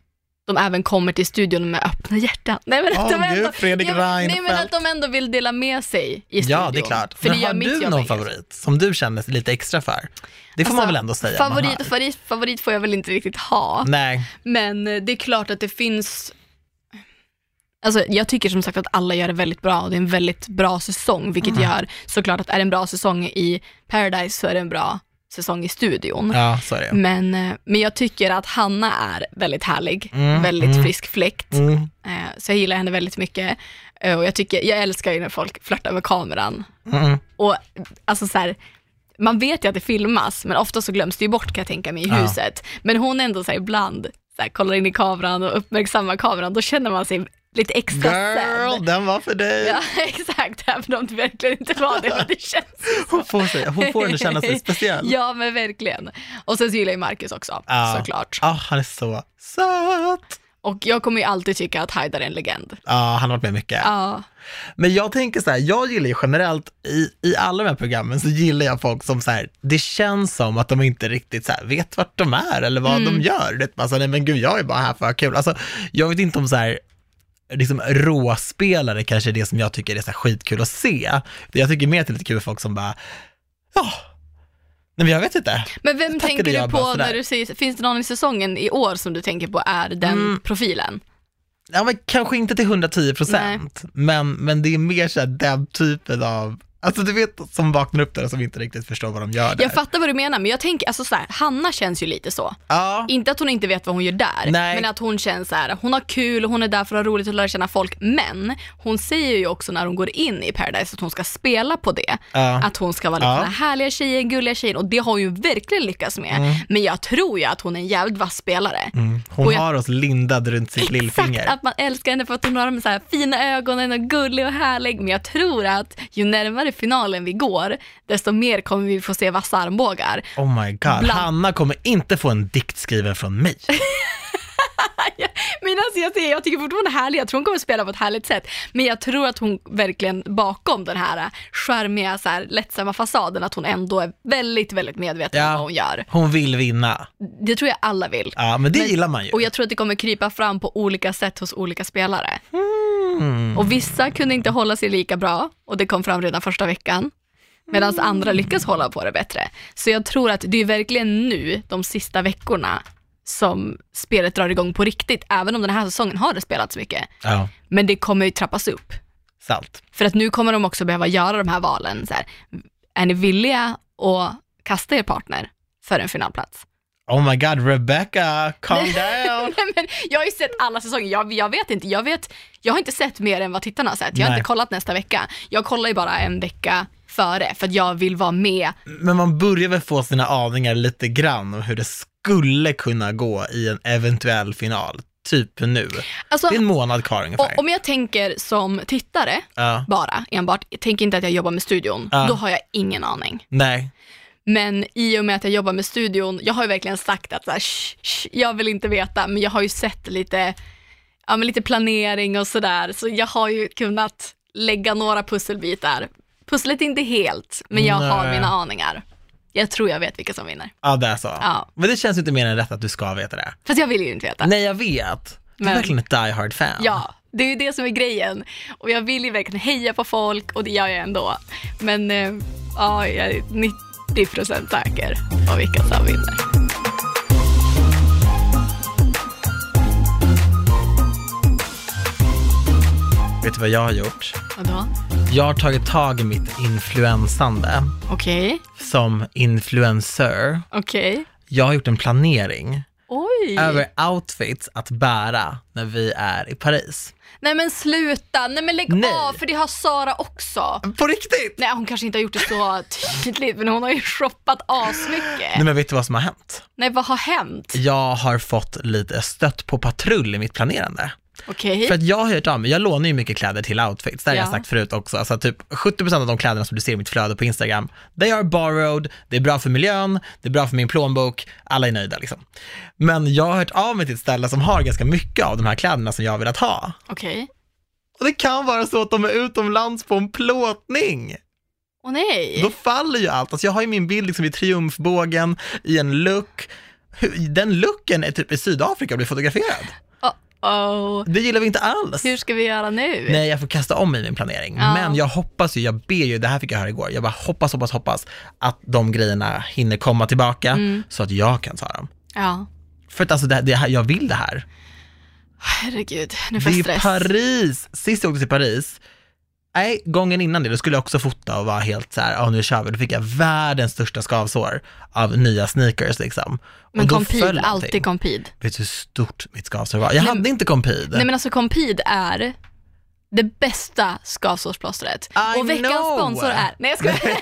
Speaker 2: de även kommer till studion med öppna hjärtan. Nej men, att
Speaker 1: Åh,
Speaker 2: de
Speaker 1: gud,
Speaker 2: ändå,
Speaker 1: Fredrik
Speaker 2: Ja, men- nej, men att
Speaker 1: Reinfeldt.
Speaker 2: de ändå vill dela med sig i studion.
Speaker 1: Ja, det är klart.
Speaker 2: För
Speaker 1: men
Speaker 2: det gör
Speaker 1: har
Speaker 2: mitt
Speaker 1: du
Speaker 2: jobb
Speaker 1: någon
Speaker 2: enkelt.
Speaker 1: favorit som du känner lite extra för? Det får man
Speaker 2: Alltså,
Speaker 1: väl ändå säga. man
Speaker 2: Favorit
Speaker 1: har.
Speaker 2: och favorit, favorit får jag väl inte riktigt ha.
Speaker 1: Nej,
Speaker 2: *laughs* Men eh, det är klart att det finns Alltså, jag tycker som sagt att alla gör det väldigt bra och det är en väldigt bra säsong, vilket
Speaker 1: Mm.
Speaker 2: gör såklart att är det en bra säsong i Paradise så är det en bra säsong i studion.
Speaker 1: ja, så är det.
Speaker 2: Men, eh, men jag tycker att Hanna är väldigt härlig,
Speaker 1: Mm,
Speaker 2: väldigt
Speaker 1: mm.
Speaker 2: frisk fläkt.
Speaker 1: Mm.
Speaker 2: Eh, Så jag gillar henne väldigt mycket. Eh, Och jag, tycker, jag älskar ju när folk flörtar med kameran.
Speaker 1: Mm.
Speaker 2: Och alltså så här, man vet ju att det filmas, men ofta så glöms det ju bort kan jag tänka mig i
Speaker 1: Ja.
Speaker 2: huset. Men hon är ändå så här, ibland så här, kollar in i kameran och uppmärksammar kameran, då känner man sig lite extra
Speaker 1: Girl,
Speaker 2: sedd.
Speaker 1: den var för dig.
Speaker 2: Ja, *laughs* exakt, även om det verkligen inte var det, men det känns
Speaker 1: Hon får, sig, *laughs* hon får henne känna sig speciell.
Speaker 2: *laughs* Ja, men verkligen. Och sen så gillar jag ju Marcus också,
Speaker 1: Ja.
Speaker 2: såklart.
Speaker 1: Ja, Ah, han är så söt.
Speaker 2: Och jag kommer ju alltid tycka att Haidar är en legend.
Speaker 1: Ja, han har varit med mycket.
Speaker 2: Ja,
Speaker 1: Men jag tänker så här, jag gillar ju generellt, i, i alla de här programmen så gillar jag folk som så här, det känns som att de inte riktigt så här vet vart de är eller vad
Speaker 2: Mm.
Speaker 1: de gör. Det är bara så här, nej men gud, jag är bara här för att ha kul. Alltså, jag vet inte om så här, liksom råspelare kanske är det som jag tycker är så här skitkul att se. Jag tycker mer att det är lite kul för folk som bara, ja, nej men jag vet inte.
Speaker 2: Men vem
Speaker 1: Tackade
Speaker 2: tänker
Speaker 1: jag
Speaker 2: du
Speaker 1: bara
Speaker 2: på
Speaker 1: sådär.
Speaker 2: när du säger, finns det någon i säsongen i år som du tänker på är den
Speaker 1: Mm.
Speaker 2: profilen?
Speaker 1: Ja, men kanske inte till 110 procent, men, men det är mer så här den typen av, alltså du vet som vaknar upp där och som inte riktigt förstår vad de gör där.
Speaker 2: Jag fattar vad du menar, men jag tänker, alltså så här, Hanna känns ju lite så.
Speaker 1: ja.
Speaker 2: Inte att hon inte vet vad hon gör där,
Speaker 1: Nej.
Speaker 2: men att hon känns så här, hon har kul, hon är där för att ha roligt och lära känna folk. Men hon säger ju också när hon går in i Paradise att hon ska spela på det.
Speaker 1: Ja.
Speaker 2: Att hon ska vara
Speaker 1: Ja.
Speaker 2: ja. den här härliga tjejen, gulliga tjejen och det har hon ju verkligen lyckats med. Men jag tror ju att hon är en jävligt vass spelare.
Speaker 1: Mm. Hon
Speaker 2: Och jag-
Speaker 1: har oss lindad runt sitt
Speaker 2: Exakt,
Speaker 1: lillfinger.
Speaker 2: att man älskar henne för att hon har de så här fina ögonen och gullig och härlig. Men jag tror att ju närmare finalen vi går, desto mer kommer vi få se vassa *laughs* armbågar.
Speaker 1: Oh my god,
Speaker 2: Bland-
Speaker 1: Hanna kommer inte få en dikt skriven från mig.
Speaker 2: Men alltså jag, säger, jag tycker fortfarande hon är härlig, jag tror hon kommer spela på ett härligt sätt. Men jag tror att hon verkligen bakom den här eh, charmiga, så här, lättsamma fasaden, att hon ändå är väldigt, väldigt medveten
Speaker 1: Ja.
Speaker 2: om vad hon gör.
Speaker 1: Hon vill vinna.
Speaker 2: Det tror jag alla vill.
Speaker 1: Ja, men det
Speaker 2: Men-
Speaker 1: gillar man ju.
Speaker 2: Och jag tror att det kommer krypa fram på olika sätt hos olika spelare.
Speaker 1: Mm.
Speaker 2: Och vissa kunde inte hålla sig lika bra och det kom fram redan första veckan. Medan andra lyckas hålla på det bättre. Så jag tror att det är verkligen nu, de sista veckorna, som spelet drar igång på riktigt. Även om den här säsongen har det spelats mycket.
Speaker 1: Ja,
Speaker 2: Men det kommer ju trappas upp.
Speaker 1: sant.
Speaker 2: För att nu kommer de också behöva göra de här valen. Så här, är ni villiga att kasta er partner för en finalplats?
Speaker 1: Oh my god, Rebecca, calm
Speaker 2: *laughs*
Speaker 1: down.
Speaker 2: Nej, men jag har ju sett alla säsonger, jag, jag vet inte, jag, vet, jag har inte sett mer än vad tittarna har sett. Jag har
Speaker 1: Nej.
Speaker 2: inte kollat nästa vecka. Jag kollar ju bara en vecka före för att jag vill vara med.
Speaker 1: Men man börjar väl få sina aningar lite grann om hur det skulle kunna gå i en eventuell final, typ nu.
Speaker 2: Alltså,
Speaker 1: Det är en månad kvar ungefär.
Speaker 2: och, om jag tänker som tittare
Speaker 1: Ja,
Speaker 2: bara, enbart, jag tänker inte att jag jobbar med studion,
Speaker 1: Ja.
Speaker 2: då har jag ingen aning.
Speaker 1: nej.
Speaker 2: Men i och med att jag jobbar med studion, jag har ju verkligen sagt att så här, shh, shh, jag vill inte veta, men jag har ju sett lite, ja, men lite planering och sådär, så jag har ju kunnat lägga några pusselbitar. Pusslet är inte helt, men jag har
Speaker 1: Nej.
Speaker 2: mina aningar. Jag tror jag vet vilka som vinner.
Speaker 1: Ja, det är så.
Speaker 2: Ja.
Speaker 1: Men det känns ju inte mer än rätt att du ska veta det.
Speaker 2: Fast jag vill ju inte veta.
Speaker 1: Nej, jag vet. Du är
Speaker 2: Men-
Speaker 1: verkligen ett die hard fan.
Speaker 2: Ja, det är ju det som är grejen. Och jag vill ju verkligen heja på folk och det gör jag ändå. Men eh, ja, jag är 90% säker på vilka som vinner.
Speaker 1: Vet du vad jag har gjort?
Speaker 2: Vadå?
Speaker 1: Jag har tagit tag i mitt influensande
Speaker 2: Okej,
Speaker 1: som influencer.
Speaker 2: okej.
Speaker 1: Jag har gjort en planering
Speaker 2: Oj!
Speaker 1: över outfits att bära när vi är i Paris.
Speaker 2: Nej men sluta, nej men lägg
Speaker 1: Nej.
Speaker 2: av för det har Sara också.
Speaker 1: På riktigt!
Speaker 2: Nej hon kanske inte har gjort det så *laughs* tydligt men hon har ju shoppat asmycket.
Speaker 1: Nej men vet du vad som har hänt?
Speaker 2: Nej vad har hänt?
Speaker 1: Jag har fått lite stött på patrull i mitt planerande.
Speaker 2: Okej,
Speaker 1: För att jag har hört av mig, jag lånar ju mycket kläder till outfits, det har jag
Speaker 2: Ja.
Speaker 1: sagt förut också. Alltså typ 70% av de kläderna som du ser i mitt flöde på Instagram, they are borrowed, det är bra för miljön, det är bra för min plånbok, alla är nöjda liksom. Men jag har hört av mig till ett ställe som har ganska mycket av de här kläderna som jag har velat ha.
Speaker 2: okej.
Speaker 1: Och det kan vara så att de är utomlands på en plåtning.
Speaker 2: Åh nej.
Speaker 1: Då faller ju allt. Alltså jag har ju min bild liksom i triumfbågen, i en look. Hur- Den looken är typ i Sydafrika och blir fotograferad.
Speaker 2: Oh,
Speaker 1: Det gillar vi inte alls.
Speaker 2: hur ska vi göra nu?
Speaker 1: Nej, jag får kasta om i min planering.
Speaker 2: Ja.
Speaker 1: Men jag hoppas ju, jag ber ju, det här fick jag höra igår, jag bara hoppas, hoppas, hoppas att de grejerna hinner komma tillbaka
Speaker 2: Mm.
Speaker 1: så att jag kan ta dem.
Speaker 2: Ja,
Speaker 1: För att alltså, det, det här, jag vill det här.
Speaker 2: herregud, nu
Speaker 1: Det
Speaker 2: får jag
Speaker 1: är
Speaker 2: stress.
Speaker 1: Paris. Sist jag åkte till Paris, nej, gången innan det, då skulle jag också fota och vara helt så här, ja nu kör vi. Då fick jag världens största skavsår av nya sneakers liksom.
Speaker 2: men
Speaker 1: och då
Speaker 2: Compid,
Speaker 1: allting.
Speaker 2: alltid Compid.
Speaker 1: Vet du hur stort mitt skavsår var? Jag hade inte Compede.
Speaker 2: Nej men alltså Compid är det bästa skavsårsplåstret.
Speaker 1: I
Speaker 2: Och veckans
Speaker 1: know.
Speaker 2: sponsor är... Nej jag skojar.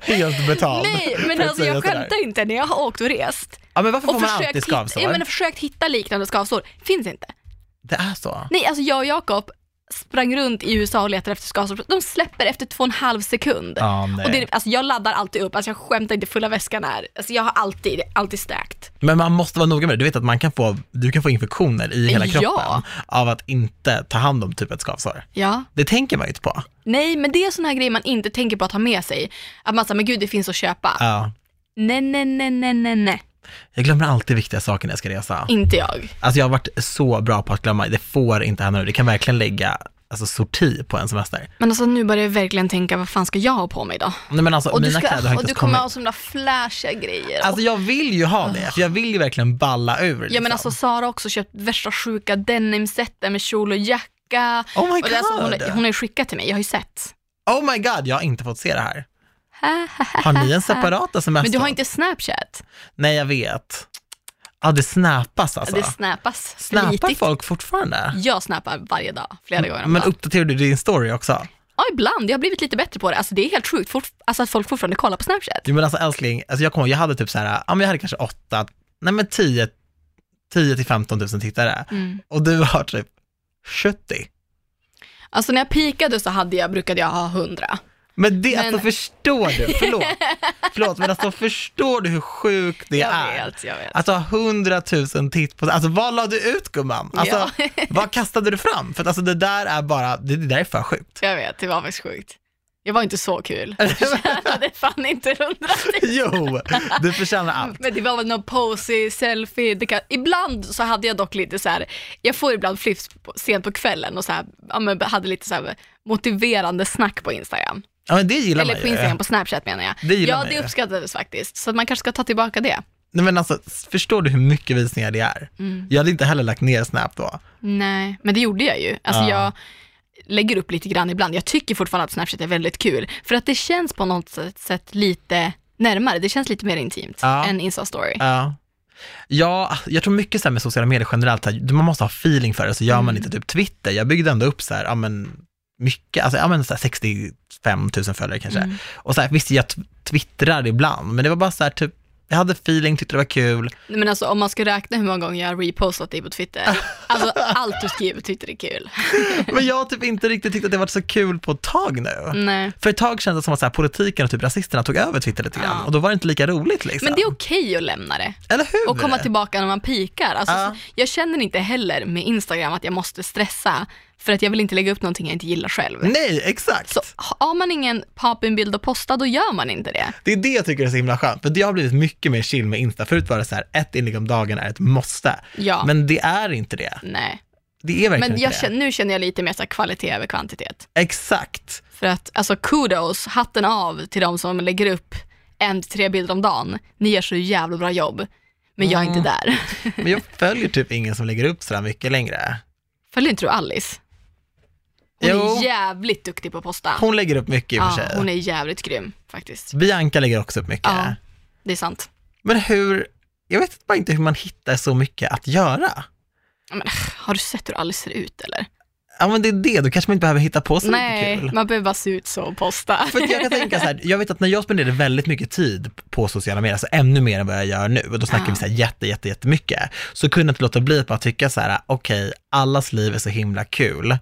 Speaker 1: Helt betald.
Speaker 2: Nej
Speaker 1: för *laughs*
Speaker 2: men
Speaker 1: att
Speaker 2: alltså
Speaker 1: säga
Speaker 2: jag
Speaker 1: sådär.
Speaker 2: skämtar inte. När jag har åkt och rest
Speaker 1: Ja men varför
Speaker 2: och
Speaker 1: får man alltid
Speaker 2: försökt, hitta,
Speaker 1: skavsår?
Speaker 2: ja, men försökt hitta liknande skavsår, finns inte.
Speaker 1: Det är så.
Speaker 2: Nej, alltså jag och Jakob sprang runt i USA och letade efter skavsår. De släpper efter två och en halv sekund.
Speaker 1: Ja, nej.
Speaker 2: och det, är- alltså jag laddar alltid upp, alltså jag skämtar inte, fulla väskan är, alltså jag har alltid, alltid stärkt.
Speaker 1: Men man måste vara noga med det. Du vet att man kan få, du kan få infektioner i hela
Speaker 2: Ja.
Speaker 1: kroppen av att inte ta hand om typ ett skavsår.
Speaker 2: Ja.
Speaker 1: Det tänker man ju inte på.
Speaker 2: Nej, men det är sån här grej man inte tänker på att ha med sig. Att man säger, men gud det finns att köpa.
Speaker 1: Ja.
Speaker 2: Nej, nej, nej, nej, nej, nej.
Speaker 1: Jag glömmer alltid viktiga saker när jag ska resa.
Speaker 2: Inte jag.
Speaker 1: Alltså jag har varit så bra på att glömma, det får inte hända nu. Det kan verkligen lägga alltså, sorti på en semester.
Speaker 2: Men alltså nu börjar jag verkligen tänka, vad fan ska jag ha på mig då?
Speaker 1: Nej men alltså
Speaker 2: Och du,
Speaker 1: mina
Speaker 2: ska,
Speaker 1: kläder har
Speaker 2: och
Speaker 1: inte
Speaker 2: du
Speaker 1: ens
Speaker 2: kommer
Speaker 1: kommit.
Speaker 2: ha sådana flashiga grejer.
Speaker 1: Alltså jag vill ju ha det, för jag vill ju verkligen balla ur. Liksom.
Speaker 2: Ja men alltså Sara har också köpt värsta sjuka denimseten med kjol och jacka.
Speaker 1: Oh my
Speaker 2: och det är alltså, hon,
Speaker 1: God.
Speaker 2: hon har ju skickat till mig, jag har ju sett.
Speaker 1: Oh my god, jag har inte fått se det här. Har ni en separat sms?
Speaker 2: Men du har inte snapchat?
Speaker 1: Nej jag vet. Ja det snappas alltså.
Speaker 2: Det snappas
Speaker 1: Snappar
Speaker 2: flitigt.
Speaker 1: folk fortfarande?
Speaker 2: Jag snappar varje dag, flera gånger om
Speaker 1: Men
Speaker 2: dagen.
Speaker 1: uppdaterar du din story också?
Speaker 2: Ja ibland, jag har blivit lite bättre på det. Alltså det är helt sjukt fort, alltså, att folk fortfarande kollar på snapchat.
Speaker 1: Jo men alltså älskling, alltså jag kommer ihåg, jag hade typ så här, ja men jag hade kanske åtta, nej men 10, 10 till 15 000 tittare.
Speaker 2: Mm.
Speaker 1: Och du har typ 70.
Speaker 2: Alltså när jag pikade så hade jag, brukade jag ha hundra.
Speaker 1: Men det,
Speaker 2: Men-
Speaker 1: alltså förstår du, förlåt,
Speaker 2: *laughs*
Speaker 1: förlåt, men alltså förstår du hur sjukt det
Speaker 2: Jag
Speaker 1: är?
Speaker 2: vet, jag vet.
Speaker 1: Att ha 100 000 titt på, alltså vad la du ut gumman? Alltså vad kastade du fram? För att alltså det där är bara, det, det där är för
Speaker 2: *laughs*
Speaker 1: sjukt.
Speaker 2: Jag vet, det var faktiskt sjukt. Jag var inte så kul. *laughs* Jag förtjänade fan inte hundra
Speaker 1: *laughs* Jo, du förtjänar allt.
Speaker 2: Men det var väl någon posy, selfie. Det kan, ibland så hade jag dock lite så här, jag får ibland flips på, sent på kvällen och så här, ja, men hade lite så här motiverande snack på Instagram.
Speaker 1: Ja men det gillar
Speaker 2: Eller
Speaker 1: man
Speaker 2: på
Speaker 1: ju.
Speaker 2: Instagram, på Snapchat menar jag.
Speaker 1: Det gillar
Speaker 2: ja,
Speaker 1: man
Speaker 2: det
Speaker 1: ju.
Speaker 2: uppskattades faktiskt. Så att man kanske ska ta tillbaka det.
Speaker 1: Nej men alltså, förstår du hur mycket visningar det är? Jag hade inte heller lagt ner Snap då.
Speaker 2: Nej, men det gjorde jag ju. Alltså
Speaker 1: Ja.
Speaker 2: jag lägger upp lite grann ibland. Jag tycker fortfarande att Snapchat är väldigt kul. För att det känns på något sätt- sätt lite närmare. Det känns lite mer intimt
Speaker 1: Ja.
Speaker 2: än Insta-story.
Speaker 1: Ja. Ja, jag tror mycket så här med sociala medier generellt, här, man måste ha feeling för det, så gör man inte typ Twitter. Jag byggde ändå upp så här, ja men mycket, alltså ja men så här 65 000 följare kanske. Och så här, visst, jag t- twittrar ibland, men det var bara så här typ, jag hade feeling, tyckte det var kul.
Speaker 2: Nej, Men alltså om man ska räkna hur många gånger jag har repostat dig
Speaker 1: *laughs*
Speaker 2: på Twitter. Alltså allt du skriver på Twitter är kul.
Speaker 1: Men jag har typ inte riktigt tyckt att det varit så kul på ett tag nu.
Speaker 2: Nej.
Speaker 1: För ett tag kändes det som att så här, politiken och typ rasisterna tog över Twitter lite grann,
Speaker 2: Ja.
Speaker 1: och då var det inte lika roligt liksom.
Speaker 2: Men det är okej att lämna det
Speaker 1: Eller hur?
Speaker 2: och komma tillbaka när man pikar. Alltså,
Speaker 1: Ja.
Speaker 2: så- Jag känner inte heller med Instagram att jag måste stressa för att jag vill inte lägga upp någonting jag inte gillar själv.
Speaker 1: Nej, exakt.
Speaker 2: Så har man ingen papinbild att posta, då gör man inte det.
Speaker 1: Det är det jag tycker är så himla skönt, för det har blivit mycket mer chill med Insta. Förut var det så här, ett inlägg om dagen är ett måste.
Speaker 2: Ja.
Speaker 1: Men det är inte det.
Speaker 2: Nej.
Speaker 1: Det är verkligen
Speaker 2: Men
Speaker 1: inte
Speaker 2: jag
Speaker 1: det.
Speaker 2: känner, nu känner jag lite mer så här kvalitet över kvantitet.
Speaker 1: Exakt.
Speaker 2: För att alltså kudos, hatten av till de som lägger upp en till tre bilder om dagen. Ni gör så jävla bra jobb. Men jag är
Speaker 1: Mm.
Speaker 2: inte där.
Speaker 1: Men
Speaker 2: *laughs*
Speaker 1: jag följer typ ingen som lägger upp sådär mycket längre.
Speaker 2: Följer inte du Alice? Hon
Speaker 1: Jo.
Speaker 2: är jävligt duktig på att posta.
Speaker 1: Hon lägger upp mycket i och för
Speaker 2: ja,
Speaker 1: sig.
Speaker 2: hon är jävligt grym faktiskt.
Speaker 1: Bianca lägger också upp mycket.
Speaker 2: Ja, det är sant.
Speaker 1: Men hur, jag vet bara inte hur man hittar så mycket att göra.
Speaker 2: Ja, Men, äh, har du sett hur Alice ser ut eller?
Speaker 1: Ja men det är det, då kanske man inte behöver hitta på så
Speaker 2: Nej,
Speaker 1: mycket kul.
Speaker 2: man behöver bara se ut så och posta.
Speaker 1: För att jag kan tänka så här, jag vet att när jag spenderade väldigt mycket tid på sociala medier, alltså ännu mer än vad jag gör nu, och då snackar
Speaker 2: Ja.
Speaker 1: vi så här jätte, jätte, jättemycket, så kunde jag inte låta bli att bara tycka så här, okej, allas liv är så himla kul,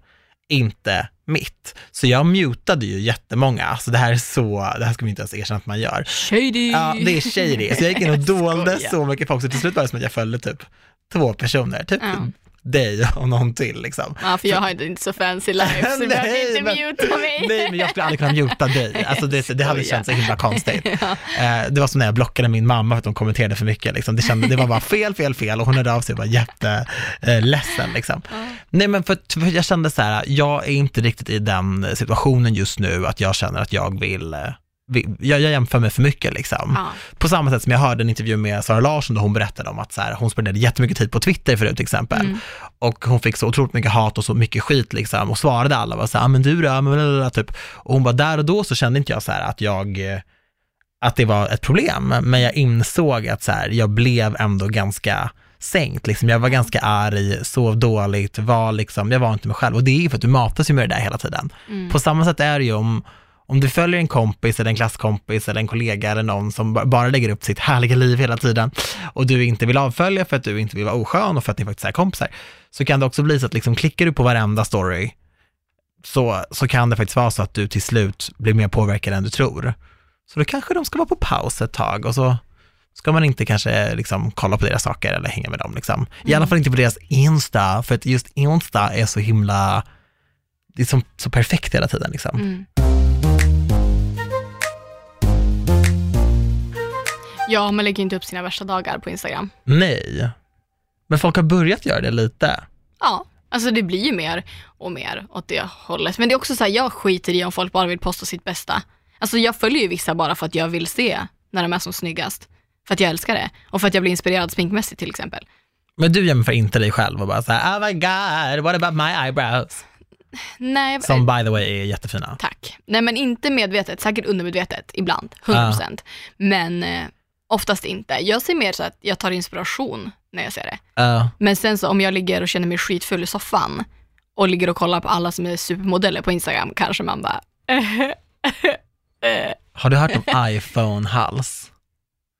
Speaker 1: inte mitt. Så jag mutade ju jättemånga, alltså det här är så, det här ska man inte ens erkänna att man gör.
Speaker 2: Shady!
Speaker 1: Ja, det är shady. Så jag gick
Speaker 2: *laughs*
Speaker 1: in och dolde
Speaker 2: skojar.
Speaker 1: så mycket folk, så till slut var det som att jag följde typ två personer, typ
Speaker 2: Ja.
Speaker 1: dig och någon till liksom.
Speaker 2: Ja, för jag har inte inte
Speaker 1: *laughs*
Speaker 2: så fancy life, så du behöver
Speaker 1: Nej,
Speaker 2: inte
Speaker 1: men-
Speaker 2: muta mig.
Speaker 1: Nej, men jag skulle aldrig kunna muta dig. Alltså det, det hade
Speaker 2: skojar.
Speaker 1: känts så himla konstigt.
Speaker 2: *laughs* Ja.
Speaker 1: Eh, Det var som när jag blockade min mamma för att hon kommenterade för mycket. Liksom. Det, kände, det var bara fel, fel, fel och hon hörde av sig och var jätteledsen. Liksom. Nej, men för, för jag kände så här, jag är inte riktigt i den situationen just nu att jag känner att jag vill, eh, vill jag, jag jämför mig för mycket. Liksom.
Speaker 2: Ja.
Speaker 1: På samma sätt som jag hörde en intervju med Sara Larsson där hon berättade om att så här, hon spenderade jättemycket tid på Twitter förut till exempel.
Speaker 2: Mm.
Speaker 1: Och hon fick så otroligt mycket hat och så mycket skit liksom och svarade alla var så här, "Ah, men du då, men blablabla", typ. Och hon bara, där och då så kände inte jag så här att jag, eh, att det var ett problem, men jag insåg att så här, jag blev ändå ganska sänkt, liksom. jag var ganska arg, sov dåligt, var liksom, jag var inte mig själv. Och det är ju för att du matas ju med det där hela tiden.
Speaker 2: Mm.
Speaker 1: På samma sätt är det ju om, om du följer en kompis eller en klasskompis eller en kollega eller någon som ba- bara lägger upp sitt härliga liv hela tiden och du inte vill avfölja för att du inte vill vara oskön och för att ni faktiskt är kompisar, så kan det också bli så att liksom klickar du på varenda story så, så kan det faktiskt vara så att du till slut blir mer påverkad än du tror. Så då kanske de ska vara på paus ett tag och så ska man inte kanske liksom kolla på deras saker eller hänga med dem. Liksom. I alla fall inte på deras Insta, för att just Insta är så himla, det är som, så perfekt hela tiden. Liksom.
Speaker 2: Mm. Ja, man lägger ju inte upp sina värsta dagar på Instagram.
Speaker 1: Nej, men folk har börjat göra det lite.
Speaker 2: Ja, alltså det blir ju mer och mer åt det hållet. Men det är också så här, jag skiter i om folk bara vill posta sitt bästa. Alltså jag följer ju vissa bara för att jag vill se när de är som snyggast. För att jag älskar det och för att jag blir inspirerad sminkmässigt till exempel.
Speaker 1: Men du jämför inte dig själv och bara så här, oh my god, what about my eyebrows?
Speaker 2: Nej, eh,
Speaker 1: Som by the way är jättefina.
Speaker 2: Tack. Nej men inte medvetet, säkert undermedvetet ibland, 100%. Men eh, oftast inte. Jag ser mer så att jag tar inspiration när jag ser det.
Speaker 1: Ja.
Speaker 2: Men sen så om jag ligger och känner mig skitfull i soffan och ligger och kollar på alla som är supermodeller på Instagram kanske man bara "Eh,
Speaker 1: har du hört om iPhone-hals?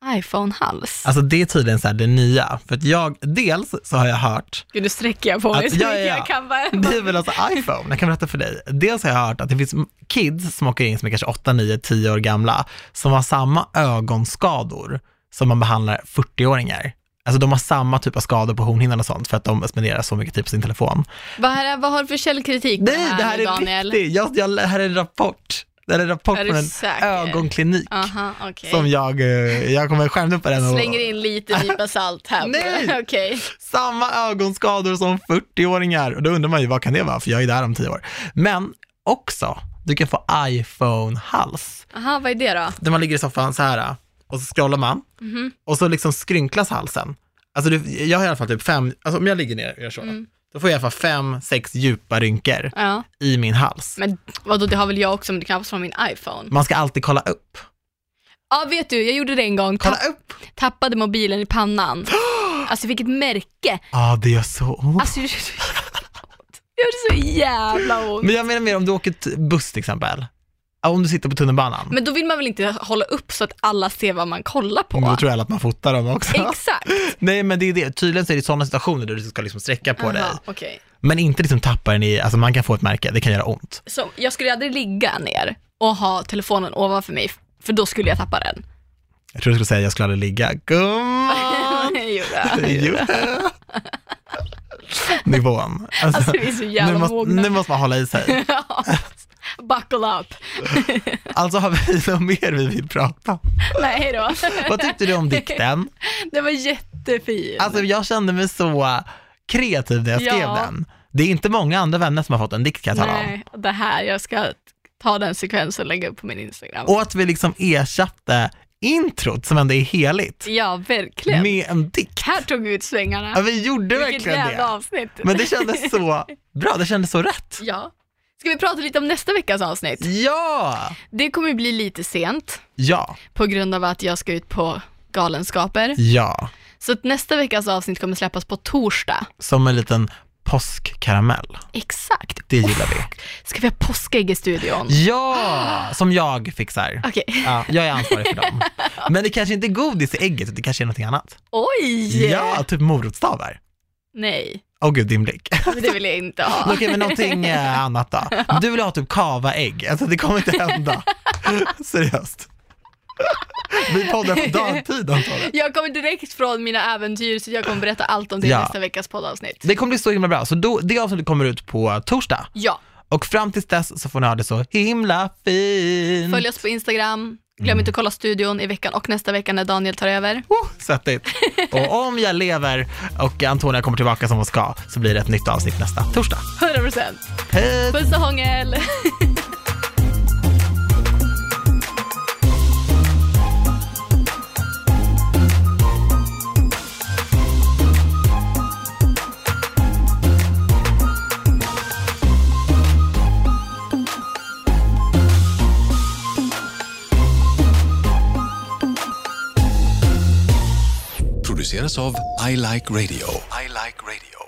Speaker 2: iPhone-hals.
Speaker 1: Alltså det är tydligen så här det nya, för att jag, dels så har jag hört,
Speaker 2: Gud, nu sträcker jag på mig
Speaker 1: Att-
Speaker 2: så
Speaker 1: alltså, ja,
Speaker 2: mycket
Speaker 1: ja, ja.
Speaker 2: jag kan bara.
Speaker 1: det är väl alltså iPhone, jag kan berätta för dig, dels har jag hört att det finns kids som åker in som är kanske 8, 9, 10 år gamla, som har samma ögonskador som man behandlar 40-åringar. Alltså de har samma typ av skador på hornhinnan och sånt för att de spenderar så mycket tid på sin telefon.
Speaker 2: Vad, här, vad har du för källkritik på
Speaker 1: Nej, det här
Speaker 2: nu,
Speaker 1: är
Speaker 2: Daniel?
Speaker 1: riktigt, jag, jag, här är en rapport, det här är en rapport
Speaker 2: Är
Speaker 1: från
Speaker 2: du
Speaker 1: en
Speaker 2: säker?
Speaker 1: ögonklinik
Speaker 2: Aha, okej.
Speaker 1: som jag, eh, jag kommer skärmdumpa den och
Speaker 2: Slänger in lite nypa salt
Speaker 1: *laughs*
Speaker 2: här.
Speaker 1: Nej!
Speaker 2: Okej.
Speaker 1: samma ögonskador som 40-åringar. Och då undrar man ju, vad kan det vara? För jag är där om 10 år. Men också, du kan få iPhone-hals.
Speaker 2: Aha, vad är det då?
Speaker 1: Där man ligger i soffan så här och så scrollar man
Speaker 2: Mhm.
Speaker 1: och så liksom skrynklas halsen. Alltså du, jag har i alla fall typ fem, alltså om jag ligger ner och gör så,
Speaker 2: Mm.
Speaker 1: då får jag i alla fall fem, sex djupa rynkor
Speaker 2: Ja.
Speaker 1: i min hals.
Speaker 2: Men vadå, det har väl jag också, men det knappast från min iPhone.
Speaker 1: Man ska alltid kolla upp.
Speaker 2: Ja, vet du, jag gjorde det en gång.
Speaker 1: Kolla
Speaker 2: Tapp-
Speaker 1: upp!
Speaker 2: tappade mobilen
Speaker 1: *gasps*
Speaker 2: i pannan. Alltså jag fick ett märke.
Speaker 1: Ja, ah, det gör så ont.
Speaker 2: Alltså det gjorde så jävla ont. Det gjorde så jävla ont.
Speaker 1: Men jag menar mer om du åker t- buss till exempel. Ja, Om du sitter på tunnelbanan.
Speaker 2: Men då vill man väl inte hålla upp så att alla ser vad man kollar på?
Speaker 1: Mm, Då tror jag alla att man fotar dem också. *laughs*
Speaker 2: Exakt.
Speaker 1: Nej men det är det, tydligen så är det sådana situationer där du ska liksom sträcka på dig.
Speaker 2: Aha, okej.
Speaker 1: Men inte liksom tappa den i, alltså man kan få ett märke, det kan göra ont.
Speaker 2: Så jag skulle aldrig ligga ner och ha telefonen ovanför mig, för då skulle jag tappa den.
Speaker 1: Jag tror du skulle säga jag skulle aldrig ligga,
Speaker 2: *laughs*
Speaker 1: gumman.
Speaker 2: Jag gjorde det.
Speaker 1: Jo. *laughs* Nivån. Alltså,
Speaker 2: Alltså vi är så
Speaker 1: nu,
Speaker 2: jävla
Speaker 1: måste,
Speaker 2: mogna.
Speaker 1: nu måste man hålla i sig.
Speaker 2: Ja. *laughs* Buckle up.
Speaker 1: Alltså har vi *laughs* något mer vi vill prata om?
Speaker 2: Nej då.
Speaker 1: Vad tyckte du om dikten?
Speaker 2: Det var jättefint.
Speaker 1: Alltså jag kände mig så kreativ när jag skrev
Speaker 2: Ja.
Speaker 1: den. Det är inte många andra vänner som har fått en dikt kan jag tala om.
Speaker 2: Nej, det här, jag ska ta den sekvensen och lägga upp på min Instagram.
Speaker 1: Och att vi liksom ersatte introt som ändå är heligt
Speaker 2: ja, verkligen.
Speaker 1: med en dikt.
Speaker 2: Här tog vi ut svängarna.
Speaker 1: Ja, vi gjorde
Speaker 2: Vilket
Speaker 1: verkligen
Speaker 2: jävla
Speaker 1: det.
Speaker 2: avsnitt.
Speaker 1: Men det kändes så bra, det kändes så rätt.
Speaker 2: Ja. Ska vi prata lite om nästa veckas avsnitt?
Speaker 1: Mm. Ja!
Speaker 2: Det kommer ju bli lite sent
Speaker 1: Ja, Mm.
Speaker 2: på grund av att jag ska ut på galenskaper.
Speaker 1: ja.
Speaker 2: Så att nästa veckas avsnitt kommer släppas på torsdag.
Speaker 1: Som en liten påskkaramell.
Speaker 2: Exakt.
Speaker 1: Det gillar vi.
Speaker 2: Ska vi ha påskägg i studion?
Speaker 1: Ja, som jag fixar.
Speaker 2: Okej. *laughs*
Speaker 1: Ja, jag är ansvarig för dem. Men det kanske inte är godis i ägget, utan det kanske är någonting annat.
Speaker 2: Oj!
Speaker 1: Ja, typ morotsstavar.
Speaker 2: Nej,
Speaker 1: Åh gud, din blick.
Speaker 2: men det vill jag inte
Speaker 1: *laughs*
Speaker 2: ha.
Speaker 1: Okej, men någonting *laughs* eh, annat då. Du vill ha typ kavaägg, alltså det kommer inte hända. *laughs* Seriöst. *laughs* Vi poddar på dagtid antagligen.
Speaker 2: Jag kommer direkt från mina äventyr så jag kommer berätta allt om det i
Speaker 1: Ja.
Speaker 2: nästa veckas poddavsnitt.
Speaker 1: Det kommer bli så himla bra, så då, det avsnittet kommer ut på torsdag.
Speaker 2: Ja,
Speaker 1: Och fram tills dess så får ni ha det så himla fint.
Speaker 2: följ oss på Instagram.
Speaker 1: Mm.
Speaker 2: Glöm inte att kolla studion i veckan och nästa vecka när Daniel tar över.
Speaker 1: Oh, svettigt. Och om jag lever och Antonia kommer tillbaka som hon ska så blir det ett nytt avsnitt nästa torsdag.
Speaker 2: 100%.
Speaker 1: Hej!
Speaker 2: Puss och hångel!
Speaker 3: produceras av I Like Radio. I like radio.